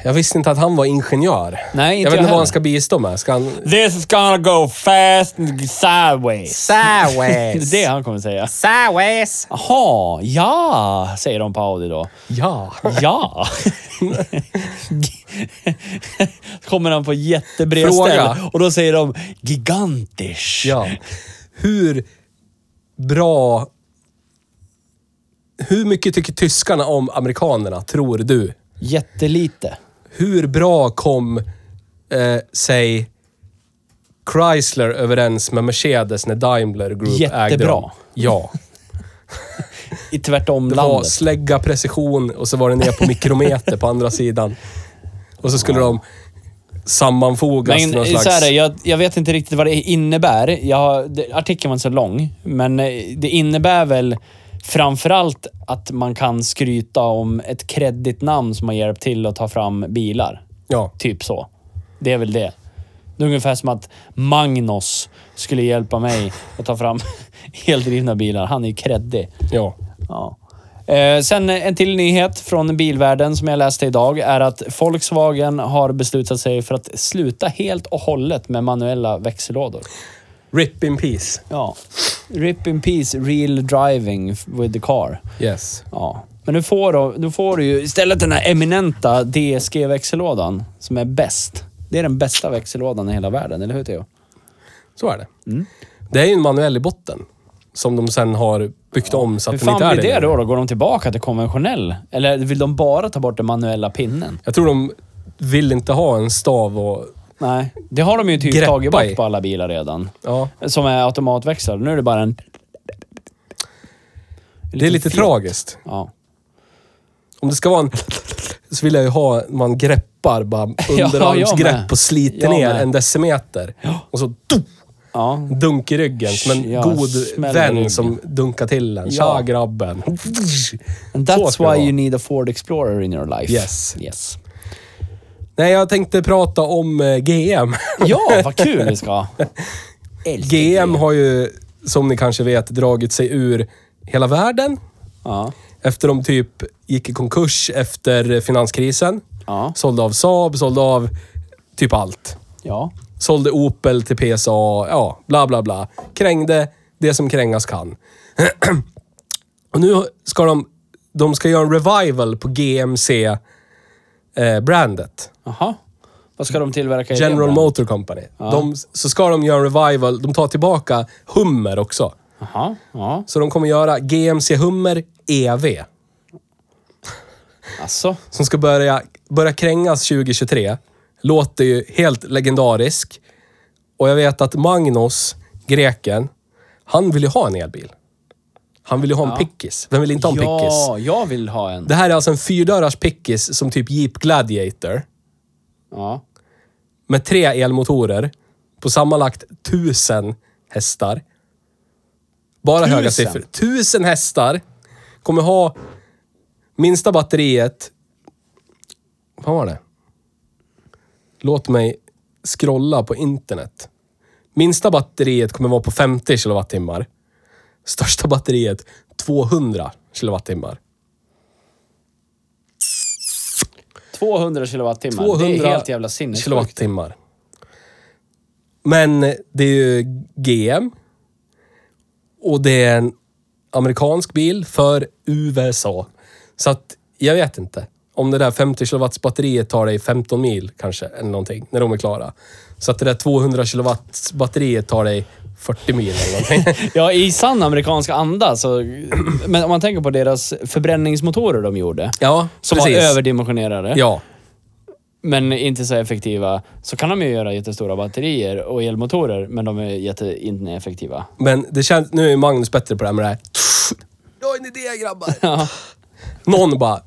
Jag visste inte att han var ingenjör.
Nej, inte
jag vet
jag
inte
heller.
vad han ska bistå med. Ska han...
This is gonna go fast and sideways.
Sideways.
[LAUGHS] Det är det han kommer säga.
Sideways.
Jaha, ja, säger de på Audi då.
Ja.
Ja. [LAUGHS] Kommer han på jättebred
Fråga.
ställ och då säger de gigantisch.
ja. Hur bra... Hur mycket tycker tyskarna om amerikanerna, tror du?
Jättelite.
Hur bra kom, eh, säg, Chrysler överens med Mercedes när Daimler Group ägde
Jättebra.
dem?
[LAUGHS]
Ja.
I tvärtom
Det var
landet.
slägga, precision och så var det ner på mikrometer på andra sidan. Och så skulle de sammanfogas till
Men
någon
så
slags...
här, är det, jag, jag vet inte riktigt vad det innebär. Jag, har- det, artikeln var inte så lång, men eh, det innebär väl framförallt att man kan skryta om ett kreddigt namn som har hjälpt till att ta fram bilar.
Ja.
Typ så. Det är väl det. Det är ungefär som att Magnus skulle hjälpa mig att ta fram [LAUGHS] eldrivna bilar. Han är ju kreddig.
Ja.
Ja. Eh, sen en till nyhet från bilvärlden som jag läste idag är att Volkswagen har beslutat sig för att sluta helt och hållet med manuella växellådor.
Rip in peace.
Ja. Rip in peace, real driving with the car.
Yes.
Ja. Men nu får, du, nu får du ju istället den här eminenta DSG-växellådan som är bäst. Det är den bästa växellådan i hela världen, eller hur Theo?
Så är det.
Mm.
Det är ju en manuell i botten. Som de sen har byggt om så
Hur
att den
fan
inte är
blir det då, då? Går de tillbaka till konventionell? Eller vill de bara ta bort den manuella pinnen?
Jag tror de vill inte ha en stav och...
Nej, det har de ju typ
Greppa
tagit bort
i.
på alla bilar redan.
Ja.
Som är automatväxlade. Nu är det bara en...
Det är lite
fjätt.
tragiskt.
Ja.
Om det ska vara en... Så vill jag ju ha... Man greppar bara
[LAUGHS] jag
underarmsgrepp
med.
och sliter
Jag
ner
med.
en decimeter. Och så... Tuff,
ja.
dunk i ryggen. Som en
Ja,
god
smäller i ryggen.
vän som dunkar till en. Tja
Ja.
grabben.
And
Så ska det
that's why
vara.
you need a Ford Explorer in your life.
Yes.
yes.
Nej, jag tänkte prata om eh, GM.
Ja, vad kul vi ska ha. Älskar
GM har ju, som ni kanske vet, dragit sig ur hela världen.
Ja.
efter de typ gick i konkurs efter finanskrisen.
Ja.
Sålde av Saab, sålde av typ allt.
Ja.
Sålde Opel till PSA, ja, bla bla bla. Krängde det som krängas kan. [CLEARS THROAT] Och nu ska de, de ska göra en revival på GMC-brandet.
Jaha. Vad ska de tillverka i det
eh, General
brandet?
Motor Company. De, så ska de göra en revival. De tar tillbaka Hummer också.
Jaha. Ja.
Så de kommer göra GMC Hummer EV.
Alltså.
Som ska börja, börja krängas 2023. Låter ju helt legendarisk. Och jag vet att Magnus, greken, han vill ju ha en elbil. Han vill ju ha en pickis. Vem vill inte ha en pickis?
Ja, jag vill ha en.
Det här är alltså en fyrdörrars pickis som typ Jeep Gladiator.
Ja.
med tre elmotorer på sammanlagt 1000 hästar. Bara
Tusen?
höga siffror. 1000 hästar. Kommer ha minsta batteriet. Vad var det? Låt mig scrolla på internet. Minsta batteriet kommer vara på 50 kilowattimmar. Största batteriet 200 kilowattimmar.
200 kilowattimmar.
200
det är helt jävla sinnessjukt.
kilowattimmar. Men eh, det är ju GM. Och det är en amerikansk bil för USA. Så att jag vet inte. Om det där 50 kilowatts batteriet tar dig 15 mil kanske, eller någonting, när de är klara. Så att det där 200 kilowatts batteriet tar dig 40 mil eller
[LAUGHS]
någonting.
Ja, i sann amerikansk anda så... Men om man tänker på deras förbränningsmotorer de gjorde.
ja,
Som
precis.
var överdimensionerade,
Ja,
men inte så effektiva. Så kan de ju göra jättestora batterier och elmotorer, men de är jätteineffektiva.
men det känns... Nu är Magnus bättre på det här med det här. Jag har en idé [LAUGHS] grabbar! Någon bara,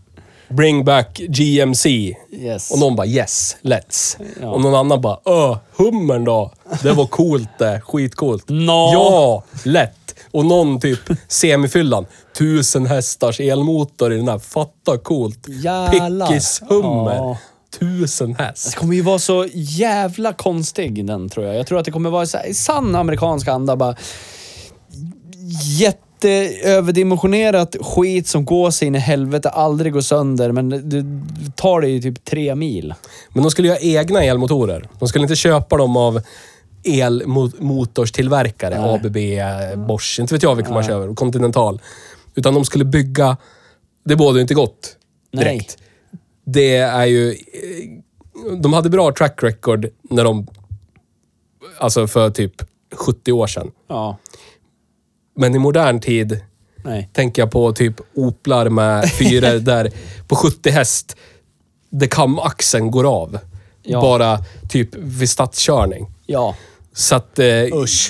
bring back GMC.
Yes.
Och någon bara yes, let's.
Ja.
Och någon annan bara öh, hummern då. Det var coolt det. Skitcoolt.
Nå.
Ja, lätt. Och någon typ semifyllan. Tusen hästars elmotor i den här. Fatta coolt.
Jävlar.
Pickis-hummer.
Ja.
Tusen
Det
häst.
kommer ju vara så jävla konstig den tror jag. Jag tror att det kommer vara så här, i sann amerikansk anda bara jätteöverdimensionerat skit som går sig in i helvete, aldrig går sönder, men det tar det ju typ tre mil.
Men de skulle göra egna elmotorer. De skulle inte köpa dem av elmotorstillverkare. ABB, eh, Bosch, inte vet jag vilka man köper. Continental. Utan de skulle bygga... Det bådar ju inte gott
Nej.
direkt. det är ju... eh, De hade bra track record när de... Alltså för typ 70 år sedan.
Ja.
Men i modern tid
Nej.
tänker jag på typ Oplar med fyror där på 70 häst, där kamaxeln går av.
Ja.
Bara typ vid stadskörning.
Ja.
Så att eh,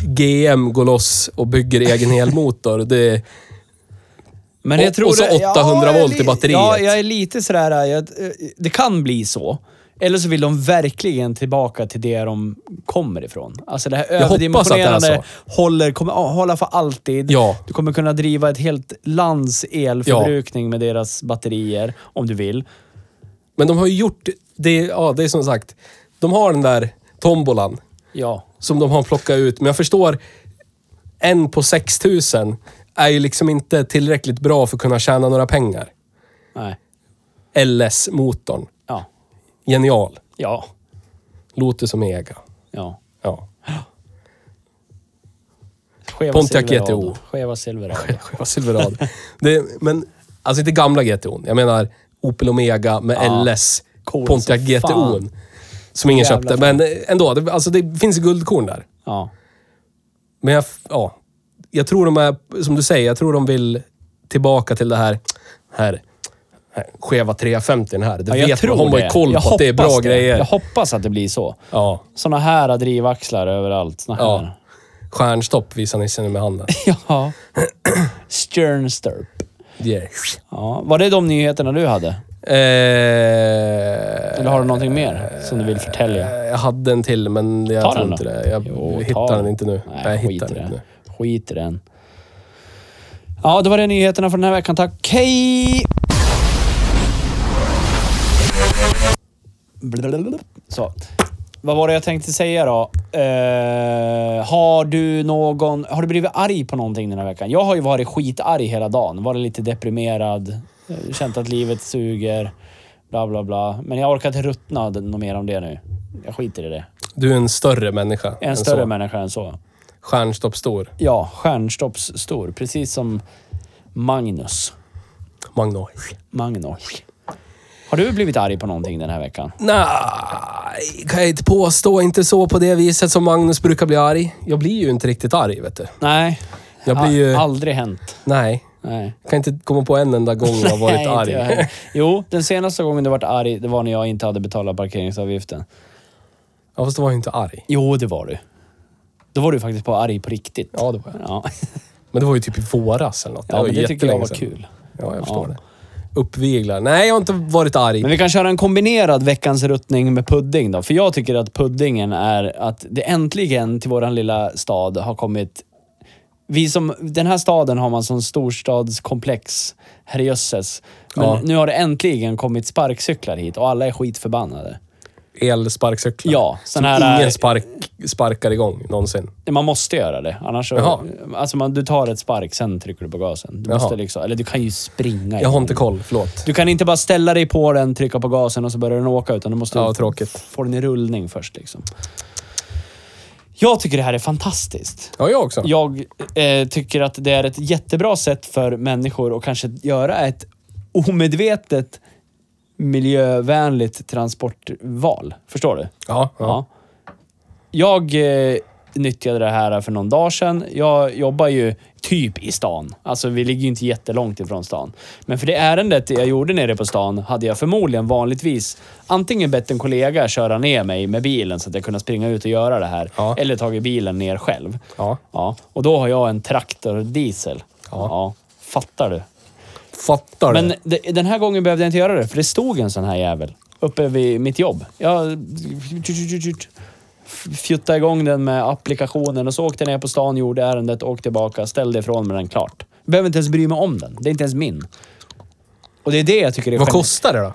GM går loss och bygger egen elmotor. Det,
Men
Och-
jag tror
och så
det-
800
jag är
volt i
li-
batteriet.
Ja, jag är lite sådär... Jag, det kan bli så. Eller så vill de verkligen tillbaka till det de kommer ifrån. Alltså det här
hoppas att det är
överdimensionerande håller, kommer ja, hålla för alltid.
Ja.
Du kommer kunna driva ett helt lands elförbrukning med deras batterier, om du vill.
men de har ju gjort... Det, ja, det är som sagt. De har den där tombolan.
Ja.
som de har plockat ut. Men jag förstår, en på 6 000 är ju liksom inte tillräckligt bra för att kunna tjäna några pengar.
Nej.
LS-motorn.
Ja.
Genial.
Ja.
Låter som ega.
Ja.
Ja.
Skeva
Pontiac
Silverado.
GTO.
Skeva Silverado.
Själva
[LAUGHS]
Silverado. Det, men, alltså inte gamla GTO'n. Jag menar Opel Omega med
Ja.
LS.
Cool
Pontiac
som fan.
GTO'n. Som ingen
Jävla
köpte. Men ändå, det, alltså det finns guldkorn där.
Ja.
Men jag, ja, jag tror de är, som du säger, jag tror de vill tillbaka till det här, här, här skeva 350 här. Det
Ja, jag
vet
tror
man. Hon har ju
det.
koll
Jag
på att det är bra
hoppas
grejer.
Jag hoppas att det blir så.
Ja,
Såna här drivaxlar överallt. Såna här. [LAUGHS]
ja. Stjärnstopp visar Nisse nu med handen.
Ja. Stjärnstorp.
Yeah.
Ja. Var det de nyheterna du hade?
Eh,
Eller har du någonting mer som du vill förtälja?
jag hade en till, men jag
Ta
tror
den då.
inte det. Jag
Jo, ta
hittar den inte nu. Nej, jag
skit
hittar
i
den
det.
inte nu.
Skit i den. Ja, det var det nyheterna för den här veckan. Tack. Hej! Så. vad var det jag tänkte säga då? Eh, har du någon... Har du blivit arg på någonting den här veckan? Jag har ju varit skitarg hela dagen. Varit lite deprimerad. eh, Känt att livet suger. Bla, bla, bla. Men jag orkar inte ruttna något mer om det nu. Jag skiter i det.
Du är en större människa.
Jag är en
än
större
så.
människa än så.
Stjärnstoppstor.
Ja, stjärnstoppsstor. Precis som Magnus.
Magnus.
Magnus. Har du blivit arg på någonting den här veckan?
Nej, kan jag inte påstå. Inte så på det viset som Magnus brukar bli arg. Jag blir ju inte riktigt arg, vet du.
Nej.
Jag blir ju-
A- Aldrig hänt.
Nej.
Nej.
Kan inte komma på en enda gång jag har varit
[LAUGHS] Nej, inte jag
arg.
heller. Jo, den senaste gången du varit arg, det var när jag inte hade betalat parkeringsavgiften.
[LAUGHS] Ja, fast då var jag inte arg.
Jo, det var du. Då var du faktiskt på arg på riktigt.
Ja, det var jag.
Ja, [LAUGHS]
Men det var ju typ i våras eller något.
ja
var
men
ju
det tycker jag
jättelänge
var
sedan.
kul.
Ja, jag förstår det. Uppviglar. Nej, jag har inte varit arg.
Men vi kan köra en kombinerad veckans ruttning med pudding då. För jag tycker att puddingen är att det äntligen till våran lilla stad har kommit... Vi som, den här staden har man som storstadskomplex, herrejösses. Men
Ja.
nu har det äntligen kommit sparkcyklar hit och alla är skitförbannade.
Elsparkcyklar.
Ja,
Som
sån här- eh,
ingen spark, sparkar igång någonsin.
Man måste göra det. Annars
Jaha.
så, alltså man, du tar ett spark, sen trycker du på gasen. Du
Jaha.
måste liksom, eller du kan ju springa.
Jag har inte koll, förlåt.
Du kan inte bara ställa dig på den, trycka på gasen och så börjar den åka. Utan du måste
Ja, tråkigt.
få den i rullning först. Liksom. Jag tycker det här är fantastiskt.
Ja, jag också.
Jag eh, tycker att det är ett jättebra sätt för människor att kanske göra ett omedvetet miljövänligt transportval. Förstår du?
Ja, ja.
Ja. Jag eh, nyttjade det här för någon dag sedan. Jag jobbar ju typ i stan. Alltså, vi ligger ju inte jättelångt ifrån stan. Men för det ärendet jag gjorde nere på stan hade jag förmodligen vanligtvis antingen bett en kollega köra ner mig med bilen så att jag kunde springa ut och göra det här.
Ja.
Eller tagit bilen ner själv.
ja.
Ja. Och då har jag en traktordiesel.
Ja.
Fattar du?
Fattar
Men
du?
de, den här gången behövde jag inte göra det, för det stod en sån här jävel uppe vid mitt jobb. Jag fjuttade igång den med applikationen och så åkte jag ner på stan, gjorde ärendet, åkte tillbaka, ställde ifrån mig den klart. Behöver inte ens bry mig om den. Det är inte ens min. Och det är det jag tycker är
Vad
geni-
kostar det då?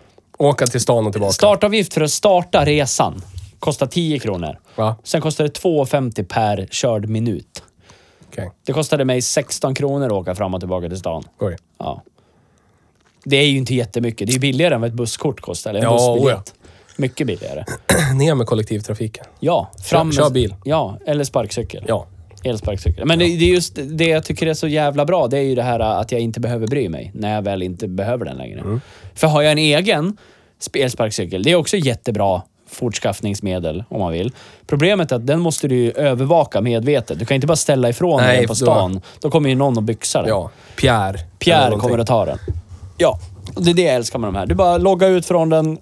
Åka till stan och tillbaka?
Startavgift för att starta resan kostar 10 kronor.
Va?
Sen kostar det 2,50 per körd minut.
Okej,
Det kostade mig 16 kronor att åka fram och tillbaka till stan.
okay.
Ja. Det är ju inte jättemycket. Det är ju billigare än vad ett busskort kostar. Eller en
Ja,
bussbiljett. Mycket billigare.
Ner med kollektivtrafiken.
Ja. Fram med,
kör bil.
Ja, eller sparkcykel.
Ja.
Elsparkcykel. Men det, det är just det jag tycker är så jävla bra. Det är ju det här att jag inte behöver bry mig när jag väl inte behöver den längre.
Mm.
För har jag en egen sp- elsparkcykel, det är också jättebra fortskaffningsmedel om man vill. Problemet är att den måste du ju övervaka medvetet. Du kan inte bara ställa ifrån
Nej,
den på
för då-
stan. Då, kommer ju någon och byxar den.
Ja. Pierre. Eller
Pierre
någonting.
kommer att ta den. Ja, och det är det jag älskar med de här. Du bara loggar ut från den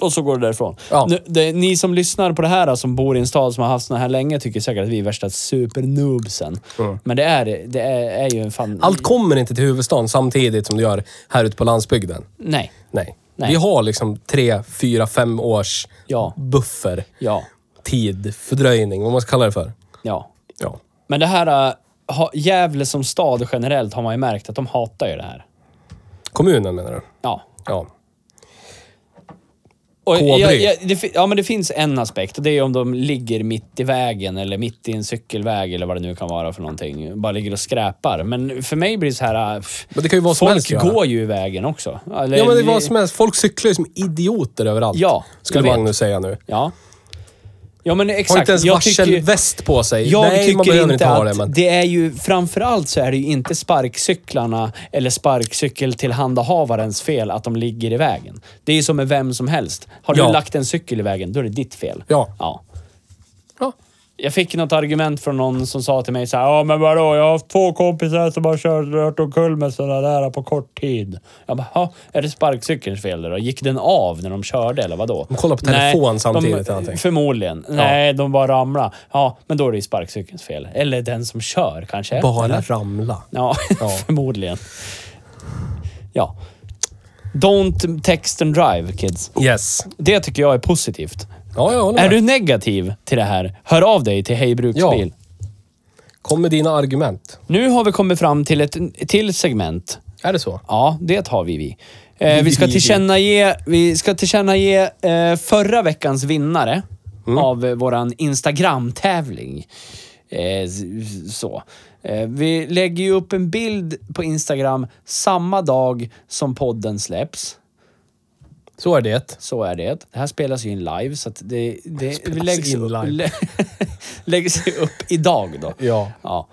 och så går du därifrån.
Ja.
Nu, det, ni som lyssnar på det här, som bor i en stad som har haft såna här länge, tycker säkert att vi är värsta supernoobsen. Men det är, det är, är ju en fan...
Allt kommer inte till huvudstaden samtidigt som du gör här ute på landsbygden.
Nej.
Nej.
Nej.
Vi har liksom tre, fyra, fem års
Ja.
buffer.
Ja.
Tid, fördröjning, vad man ska kalla det för.
Ja.
Ja.
Men det här... äh, ha- Gävle som stad generellt har man ju märkt att de hatar ju det här.
Kommunen menar du?
Ja.
Ja.
Och
K-bry.
jag, jag, det, fi- ja, men det finns en aspekt och det är om de ligger mitt i vägen eller mitt i en cykelväg eller vad det nu kan vara för någonting. Bara ligger och skräpar. Men för mig blir det så här... äh, pff,
Men det kan ju vara vad som helst
Folk
göra.
går ju i vägen också. Eller-
Ja, men det är vad som helst. Folk cyklar ju som idioter överallt.
Ja,
Skulle
jag vet.
Magnus säga nu.
Ja. Ja, men exakt.
Har inte ens
jag tycker, ju-
varselväst på sig.
jag
Nej, man
tycker
behöver
inte
inte
att
ha det. Men...
det är ju... Framförallt så är det ju inte sparkcyklarna eller sparkcykeltillhandahavarens fel att de ligger i vägen. Det är ju som med vem som helst. Har du
Ja.
lagt en cykel i vägen, då är det ditt fel.
Ja.
ja.
Ja.
Jag fick något argument från någon som sa till mig så här, ja men vadå, jag har haft två kompisar som har kört rört omkull med sådana där på kort tid. Jag bara, "Ha, är det sparkcykelns fel då? Gick den av när de körde eller vadå?
De kollar på telefon samtidigt eller
de,
någonting.
Förmodligen. Nej, de bara ramlade. Ja, men då är det ju sparkcykelns fel. Eller den som kör kanske.
Bara
Eller?
ramla.
Ja,
Ja.
[LAUGHS] förmodligen. Ja. Don't text and drive, kids.
Yes.
Det tycker jag är positivt.
Ja, jag håller
Är
med.
du negativ till det här, hör av dig till Hej Bruksbil.
Ja. Kom med dina argument.
Nu har vi kommit fram till ett till segment.
Är det så?
Ja, det har vi. vi. Eh, vi ska tillkännage, vi ska tillkännage eh, förra veckans vinnare. av eh, våran Instagram-tävling. Eh, s- s- så. Eh, vi lägger ju upp en bild på Instagram samma dag som podden släpps.
Så är det.
Så är det. Det här spelas ju in live, så att det, det
Spelas
läggs,
in
upp,
live.
lä, [LAUGHS] läggs ju upp idag då.
Ja.
Ja.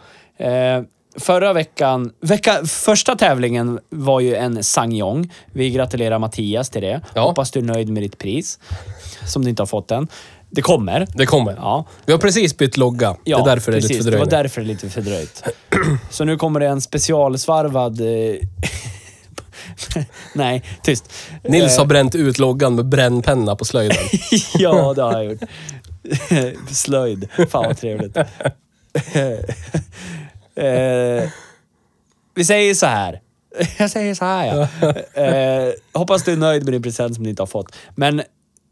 Eh, förra veckan, vecka, första tävlingen var ju en sangyong. Vi gratulerar Mattias till det.
Ja.
Hoppas du är nöjd med ditt pris, som du inte har fått än. Det kommer.
Det kommer.
Ja.
Vi har precis bytt logga.
Ja,
det är därför det är
precis.
lite
Det var
fördröjning.
därför det är lite fördröjt. [CLEARS THROAT] Så nu kommer det en specialsvarvad... Eh, [LAUGHS] Nej, tyst.
Nils har
Eh.
bränt ut loggan med brännpenna på slöjden.
[LAUGHS] ja, det har jag gjort. [LAUGHS] Slöjd. Fan vad trevligt. [LAUGHS] Eh, vi säger så här. [LAUGHS] Jag säger så här ja. Eh, hoppas du är nöjd med din present som du inte har fått. Men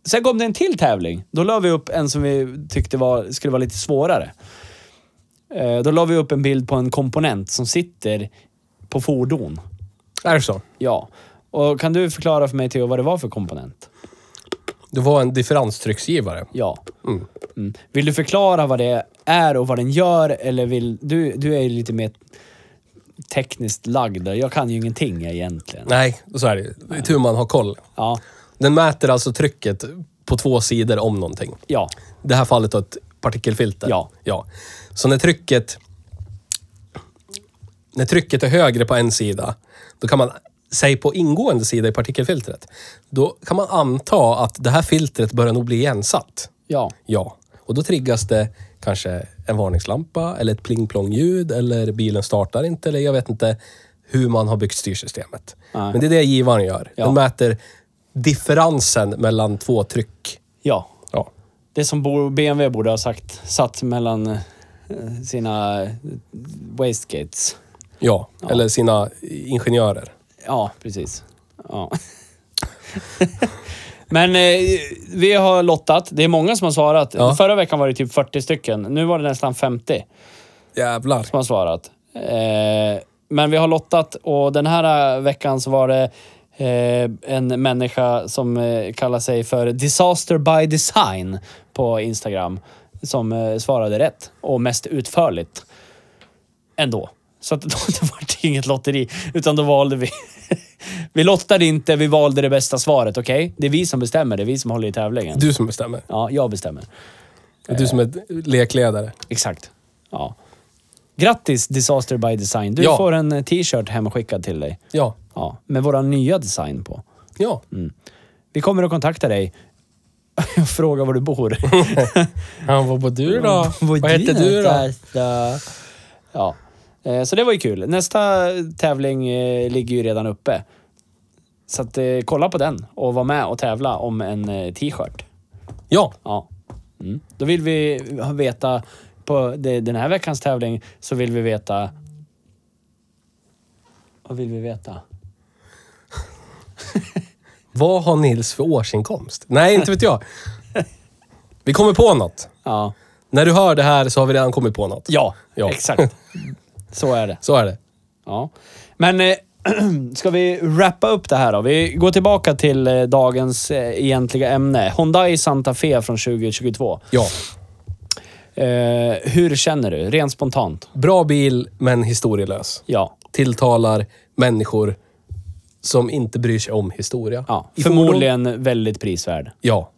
sen kom det en till tävling. Då la vi upp en som vi tyckte var, skulle vara lite svårare. Eh, då la vi upp en bild på en komponent som sitter på fordon.
är det så?
Ja. Och kan du förklara för mig Theo vad det var för komponent?
Det var en differenstrycksgivare.
Ja. Mm. Vill du förklara vad det är och vad den gör eller vill... Du, du är ju lite mer tekniskt lagd. Jag kan ju ingenting egentligen.
Nej, så är det. Det är tur man har koll.
Ja.
Den mäter alltså trycket på två sidor om någonting.
Ja.
I det här fallet då ett partikelfilter.
Ja.
ja. Så när trycket... När trycket är högre på en sida, då kan man, säg på ingående sida i partikelfiltret, då kan man anta att det här filtret börjar nog bli igensatt.
Ja.
Ja. Och då triggas det kanske en varningslampa eller ett pling-plong-ljud eller bilen startar inte eller jag vet inte hur man har byggt styrsystemet.
Nej.
Men det är det givaren gör.
Ja.
Den mäter differensen mellan två tryck.
Ja.
Ja.
Det som bo- BMW borde ha sagt, satt mellan eh, sina eh, wastegates.
Ja, eller sina ingenjörer.
Ja, precis. Ja. [LAUGHS] Men eh, vi har lottat. Det är många som har svarat.
Ja.
Förra veckan var det typ 40 stycken. Nu var det nästan 50.
Jävlar.
som har svarat. Eh, men vi har lottat och den här eh, veckan så var det eh, en människa som eh, kallar sig för Disaster by Design på Instagram som eh, svarade rätt och mest utförligt ändå. Så att [LAUGHS] då, då var det inget lotteri, utan då valde vi. [LAUGHS] vi lottade inte, vi valde det bästa svaret, okej? Det är vi som bestämmer, det är vi som håller i tävlingen.
Du som bestämmer.
Ja, jag bestämmer.
Du som är lekledare.
Exakt. Ja. Grattis Disaster by Design. Du
Ja.
får en eh, t-shirt hemskickad till dig.
Ja.
Ja, med vår nya design på.
Ja.
Vi kommer att kontakta dig och [LAUGHS] fråga var du
[LAUGHS]
bor.
ja vad var du då? vad heter
din
du alltså? då?
adress? Ja. Eh, Så det var ju kul. Nästa tävling eh, ligger ju redan uppe. Så att, eh, kolla på den och var med och tävla om en eh, t-shirt.
Ja.
Ja. Mm. Då vill vi veta, på de- den här veckans tävling, så vill vi veta... Vad vill vi veta?
Vad har Nils för årsinkomst? Nej, inte vet [LAUGHS] jag. Vi kommer på något.
Ja.
När du hör det här så har vi redan kommit på något.
Ja,
Ja.
exakt. Så är det.
Så är det.
Ja. Men eh, [CLEARS THROAT] ska vi wrappa upp det här då? Vi går tillbaka till eh, dagens eh, egentliga ämne. Hyundai Santa Fe från 2022.
Ja.
Eh, hur känner du? Rent spontant.
Bra bil, men historielös.
Ja.
Tilltalar människor som inte bryr sig om historia.
ja.
I fordon-
Förmodligen väldigt prisvärd.
Ja.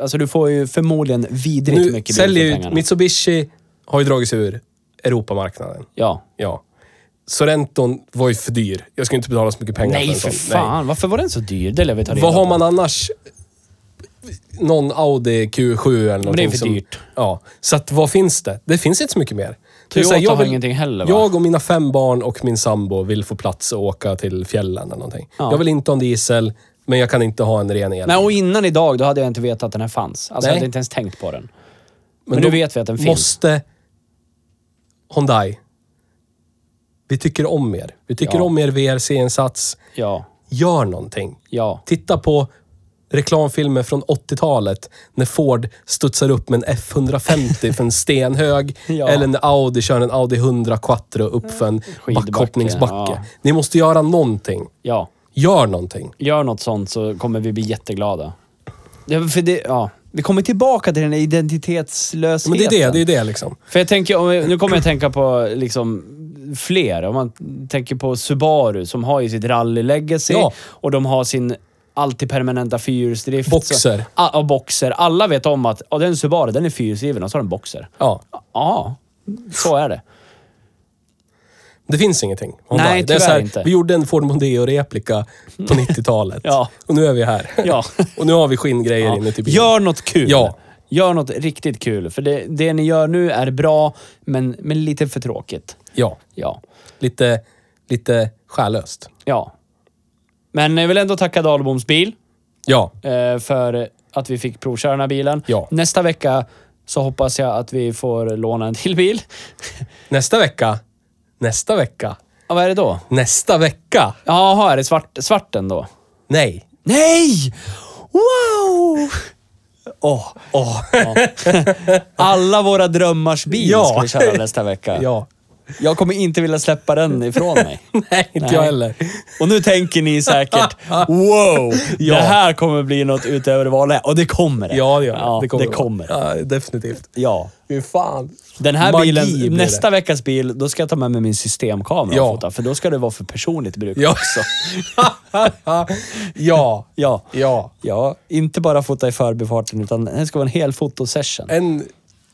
Alltså du får ju förmodligen vidrigt
Nu
mycket
säljer
bil
ju...
för pengarna.
Mitsubishi har ju dragits ur Europamarknaden.
Ja.
Ja. Sorrenton var ju för dyr. Jag skulle inte betala så mycket pengar
Nej,
en
för
sån.
fan. Varför var den så dyr? Det lär vi ta reda
Vad har
på.
man annars? Någon Audi Q7 eller någonting
Men det är för
som,
dyrt.
Ja, så att vad finns det? Det finns inte så mycket mer. Det är
Toyota
så här,
har ingenting heller, va?
Jag och mina fem barn och min sambo vill få plats att åka till fjällen eller någonting.
Ja.
Jag vill inte ha en diesel, men jag kan inte ha en ren el.
Nej, och innan idag, då hade jag inte vetat att den här fanns. Alltså, jag
Nej.
hade inte ens tänkt på den. men nu
då
vet vi att den finns.
Måste Hyundai. Vi tycker om er. Vi tycker
Ja.
om er VRC-insats.
Ja.
Gör någonting.
Ja.
Titta på reklamfilmer från 80-talet när Ford studsar upp med en F150
[LAUGHS]
för en stenhög.
Ja.
Eller när Audi kör en Audi 100 Quattro upp för en
Skidbacke,
backhoppningsbacke.
ja.
Ni måste göra någonting.
Ja.
Gör någonting.
Gör något sånt så kommer vi bli jätteglada. Ja, för det, ja.
Vi kommer tillbaka till den här identitetslösheten.
Men det är det, det är det liksom.
För jag tänker, om jag- nu kommer jag tänka på liksom fler. Om man tänker på Subaru som har ju sitt rally-legacy
Ja.
och de har sin alltid permanenta fyrhjulsdrift.
Boxer.
Så- Ja, ja, boxer. Alla vet om att ja, den Subaru, den är fyrhjulsdriven och så har den boxer.
Ja.
Ja, så är det.
Det finns ingenting.
Nej,
Hyundai. det är
tyvärr
så här,
inte.
Vi gjorde en Ford Mondeo-replika
[LAUGHS]
på 90-talet.
Ja.
Och nu är vi här.
[LAUGHS] Ja.
[LAUGHS] Och nu har vi skinngrejer inuti bilen.
Gör något kul.
Ja.
typ Gör något riktigt kul. För det, det ni gör nu är bra, men, men lite för tråkigt.
Ja.
Ja.
Lite, lite själlöst.
ja. Men jag vill ändå tacka Dalboms bil.
Ja.
eh, för att vi fick provköra den här bilen.
Ja.
Nästa vecka så hoppas jag att vi får låna en till bil.
Nästa vecka. Nästa vecka.
Ja, vad är det då?
Nästa vecka.
Jaha, är det svart, svarten då?
Nej.
Nej! Wow!
Åh. Åh.
[LAUGHS] Alla våra drömmars bil
Ja.
ska vi köra nästa [LAUGHS] vecka.
Ja.
Jag kommer inte vilja släppa den ifrån mig.
Nej, [LAUGHS] inte
Nej.
jag heller.
Och nu tänker
[LAUGHS]
ni säkert, [LAUGHS] wow,
Ja.
det här kommer bli något utöver det vanliga. Och det kommer det.
Ja, det gör
ja, det. Kommer. Det
vara.
kommer.
Ja, definitivt.
Ja.
Fy fan.
Den här
Magi blir
bilen,
det.
nästa veckas bil, då ska jag ta med mig min systemkamera
Ja.
och fota. För då ska det vara för personligt bruk
Ja. [LAUGHS]
också.
ja.
Ja.
Ja.
ja. Inte bara fota i förbifarten, utan det ska vara en hel fotosession.
En,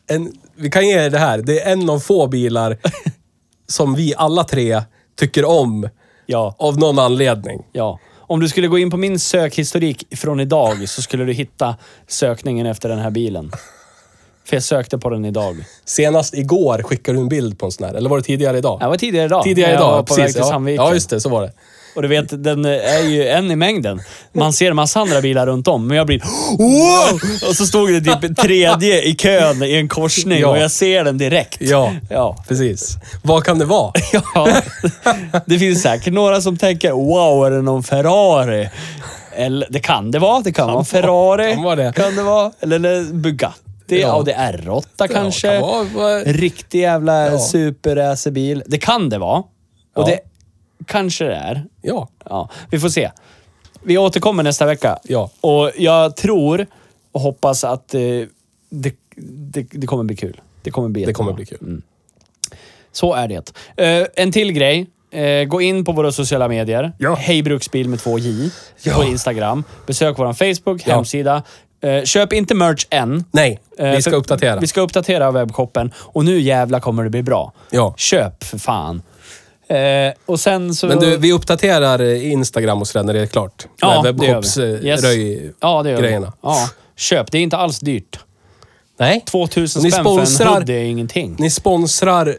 en, vi kan ge er det här. Det är en av få
[LAUGHS]
bilar som vi alla tre tycker om
Ja.
av någon anledning.
ja. Om du skulle gå in på min sökhistorik från idag så skulle du hitta sökningen efter den här bilen. För jag sökte på den idag.
Senast igår skickade du en bild på en sån här. Eller var det tidigare idag?
Det var tidigare idag.
tidigare
när
idag,
jag var på
precis.
väg till
ja.
Sandviken.
ja, just det. Så var det.
Och du vet, den eh, är ju en i mängden. Man ser massa andra bilar runt om, men jag blir wow! Och så stod det typ tredje i kön i en korsning
Ja.
och jag ser den direkt.
Ja,
Ja.
precis. Vad kan det
[LAUGHS]
vara?
ja. Det finns säkert några som tänker, wow, är det någon Ferrari? Eller, det kan det vara. Det kan, vara en Ferrari.
kan vara det.
Kan det vara. Eller, eller Bugatti. Ja.
Ja.
det är R8 kanske.
kan vara- vara-
Riktig jävla
Ja.
superracerbil. Det kan det vara. Och
Ja.
det kanske det är.
Ja.
Ja, vi får se. Vi återkommer nästa vecka.
Ja.
Och jag tror och hoppas att eh, det, det, det kommer bli kul. Det kommer bli
Det kommer
jättebra. Mm.
bli kul.
Så är det. Eh, en till grej. Eh, gå in på våra sociala medier.
Ja.
Hej Bruksbil med två J på Instagram. Besök vår Facebook,
Ja.
hemsida. Eh, köp inte merch än.
Nej,
Eh,
vi ska
för-
uppdatera.
Vi ska uppdatera webbshoppen och nu jävla kommer det bli bra.
Ja.
Köp för fan. Eh, och sen så...
Men du, vi uppdaterar eh, Instagram och sådär när det är klart.
Ja,
Med
det gör vi.
webbshops, eh,
Yes.
röj-
Ja, det gör
grejerna.
vi. Ja. Köp, det är inte alls dyrt.
Nej.
2000
Ni
spänn för en
sponsrar-
hoodie är ingenting.
Ni sponsrar...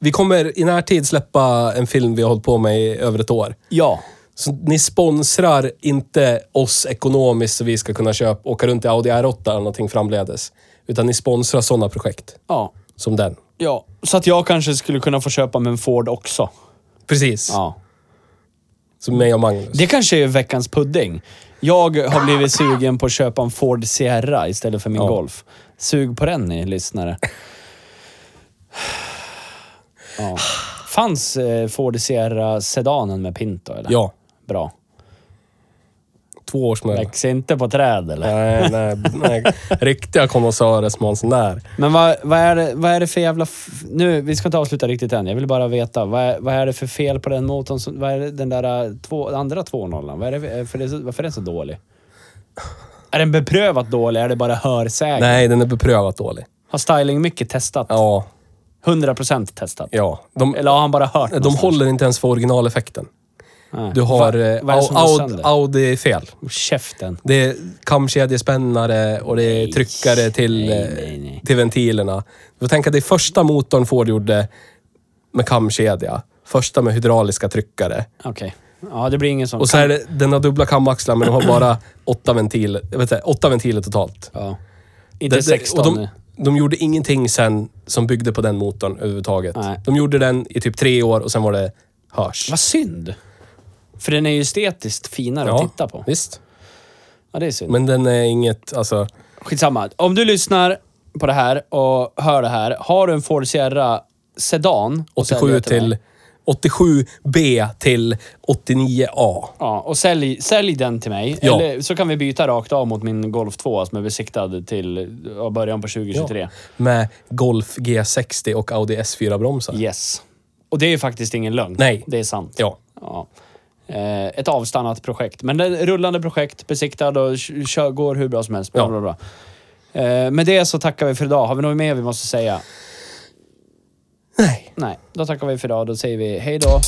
Vi kommer i närtid släppa en film vi har hållit på med i över ett år.
Ja.
Så ni sponsrar inte oss ekonomiskt så vi ska kunna köpa, åka runt i Audi R8 eller någonting framledes. Utan ni sponsrar sådana projekt.
ja.
Som den.
Ja. Så att jag kanske skulle kunna få köpa mig en Ford också.
Precis.
Ja.
Som mig och Magnus.
Det kanske är veckans pudding. Jag har blivit sugen på att köpa en Ford Sierra istället för min
Ja.
Golf. Sug på den ni lyssnare. Ja. Fanns eh, Ford Sierra sedanen med Pinto eller?
Ja.
Bra.
Två års mellan.
Väx inte på träd eller?
Nej, nej,
[LAUGHS]
nej. Riktiga konnässörer som har en sån där.
Men vad, vad, är det, vad är det för jävla... F- nu, vi ska inte avsluta riktigt än. Jag vill bara veta. Vad är, vad är det för fel på den motorn? Som, vad är det, den där eh, två, andra 2.0? Vad är det för, för det, är så- varför är den så dålig? Är den beprövat dålig? Är det bara hörsägen?
Nej, den är beprövat dålig.
Har styling mycket testat?
Ja,
100% testat?
ja. De,
Eller har han bara hört
de
någonstans?
håller inte ens för originaleffekten.
Nej.
Du har
Va-
eh,
vad är det som går
Audi,
sönder?
Audi fel.
Oh, Käften.
Det är kamkedjespännare och det är tryckare till,
nej,
eh,
nej, nej.
till ventilerna. Du får tänka dig första motorn Ford gjorde med kamkedja. Första med hydrauliska tryckare.
Okej. Ja, det blir ingen sån...
Och så är det, den har dubbla kamaxlar men de har bara [CLEARS THROAT] åtta ventiler, jag vet inte, åtta ventiler totalt.
Ja. Inte
Det- det-
16
och de,
nu.
de gjorde ingenting sen som byggde på den motorn överhuvudtaget.
Nej.
De gjorde den i typ tre år och sen var det hörs.
Vad synd. För den är ju estetiskt finare att titta på.
Visst.
Ja, det är synd.
Men den är inget, alltså...
Skitsamma. Om du lyssnar på det här och hör det här. Har du en Ford Sierra Sedan? och
87
säljer till mig,
till 87B till 89A.
Ja, och sälj, sälj den till mig.
Ja.
Eller så kan vi byta rakt av mot min Golf 2 som är besiktad till ja, början på 2023.
Med Golf G60 och Audi S4-bromsar.
Yes. Och det är ju faktiskt ingen lögn.
Nej.
Det är sant.
Ja.
Ja. Eh, Ett avstannat projekt. Men det är ett rullande projekt, besiktad och k- kör, går hur bra som helst. Bla,
Ja.
bla, bla. Eh, Med det så tackar vi för idag. Har vi något mer vi måste säga?
Nej.
Nej, då tackar vi för idag. Då säger vi hej då.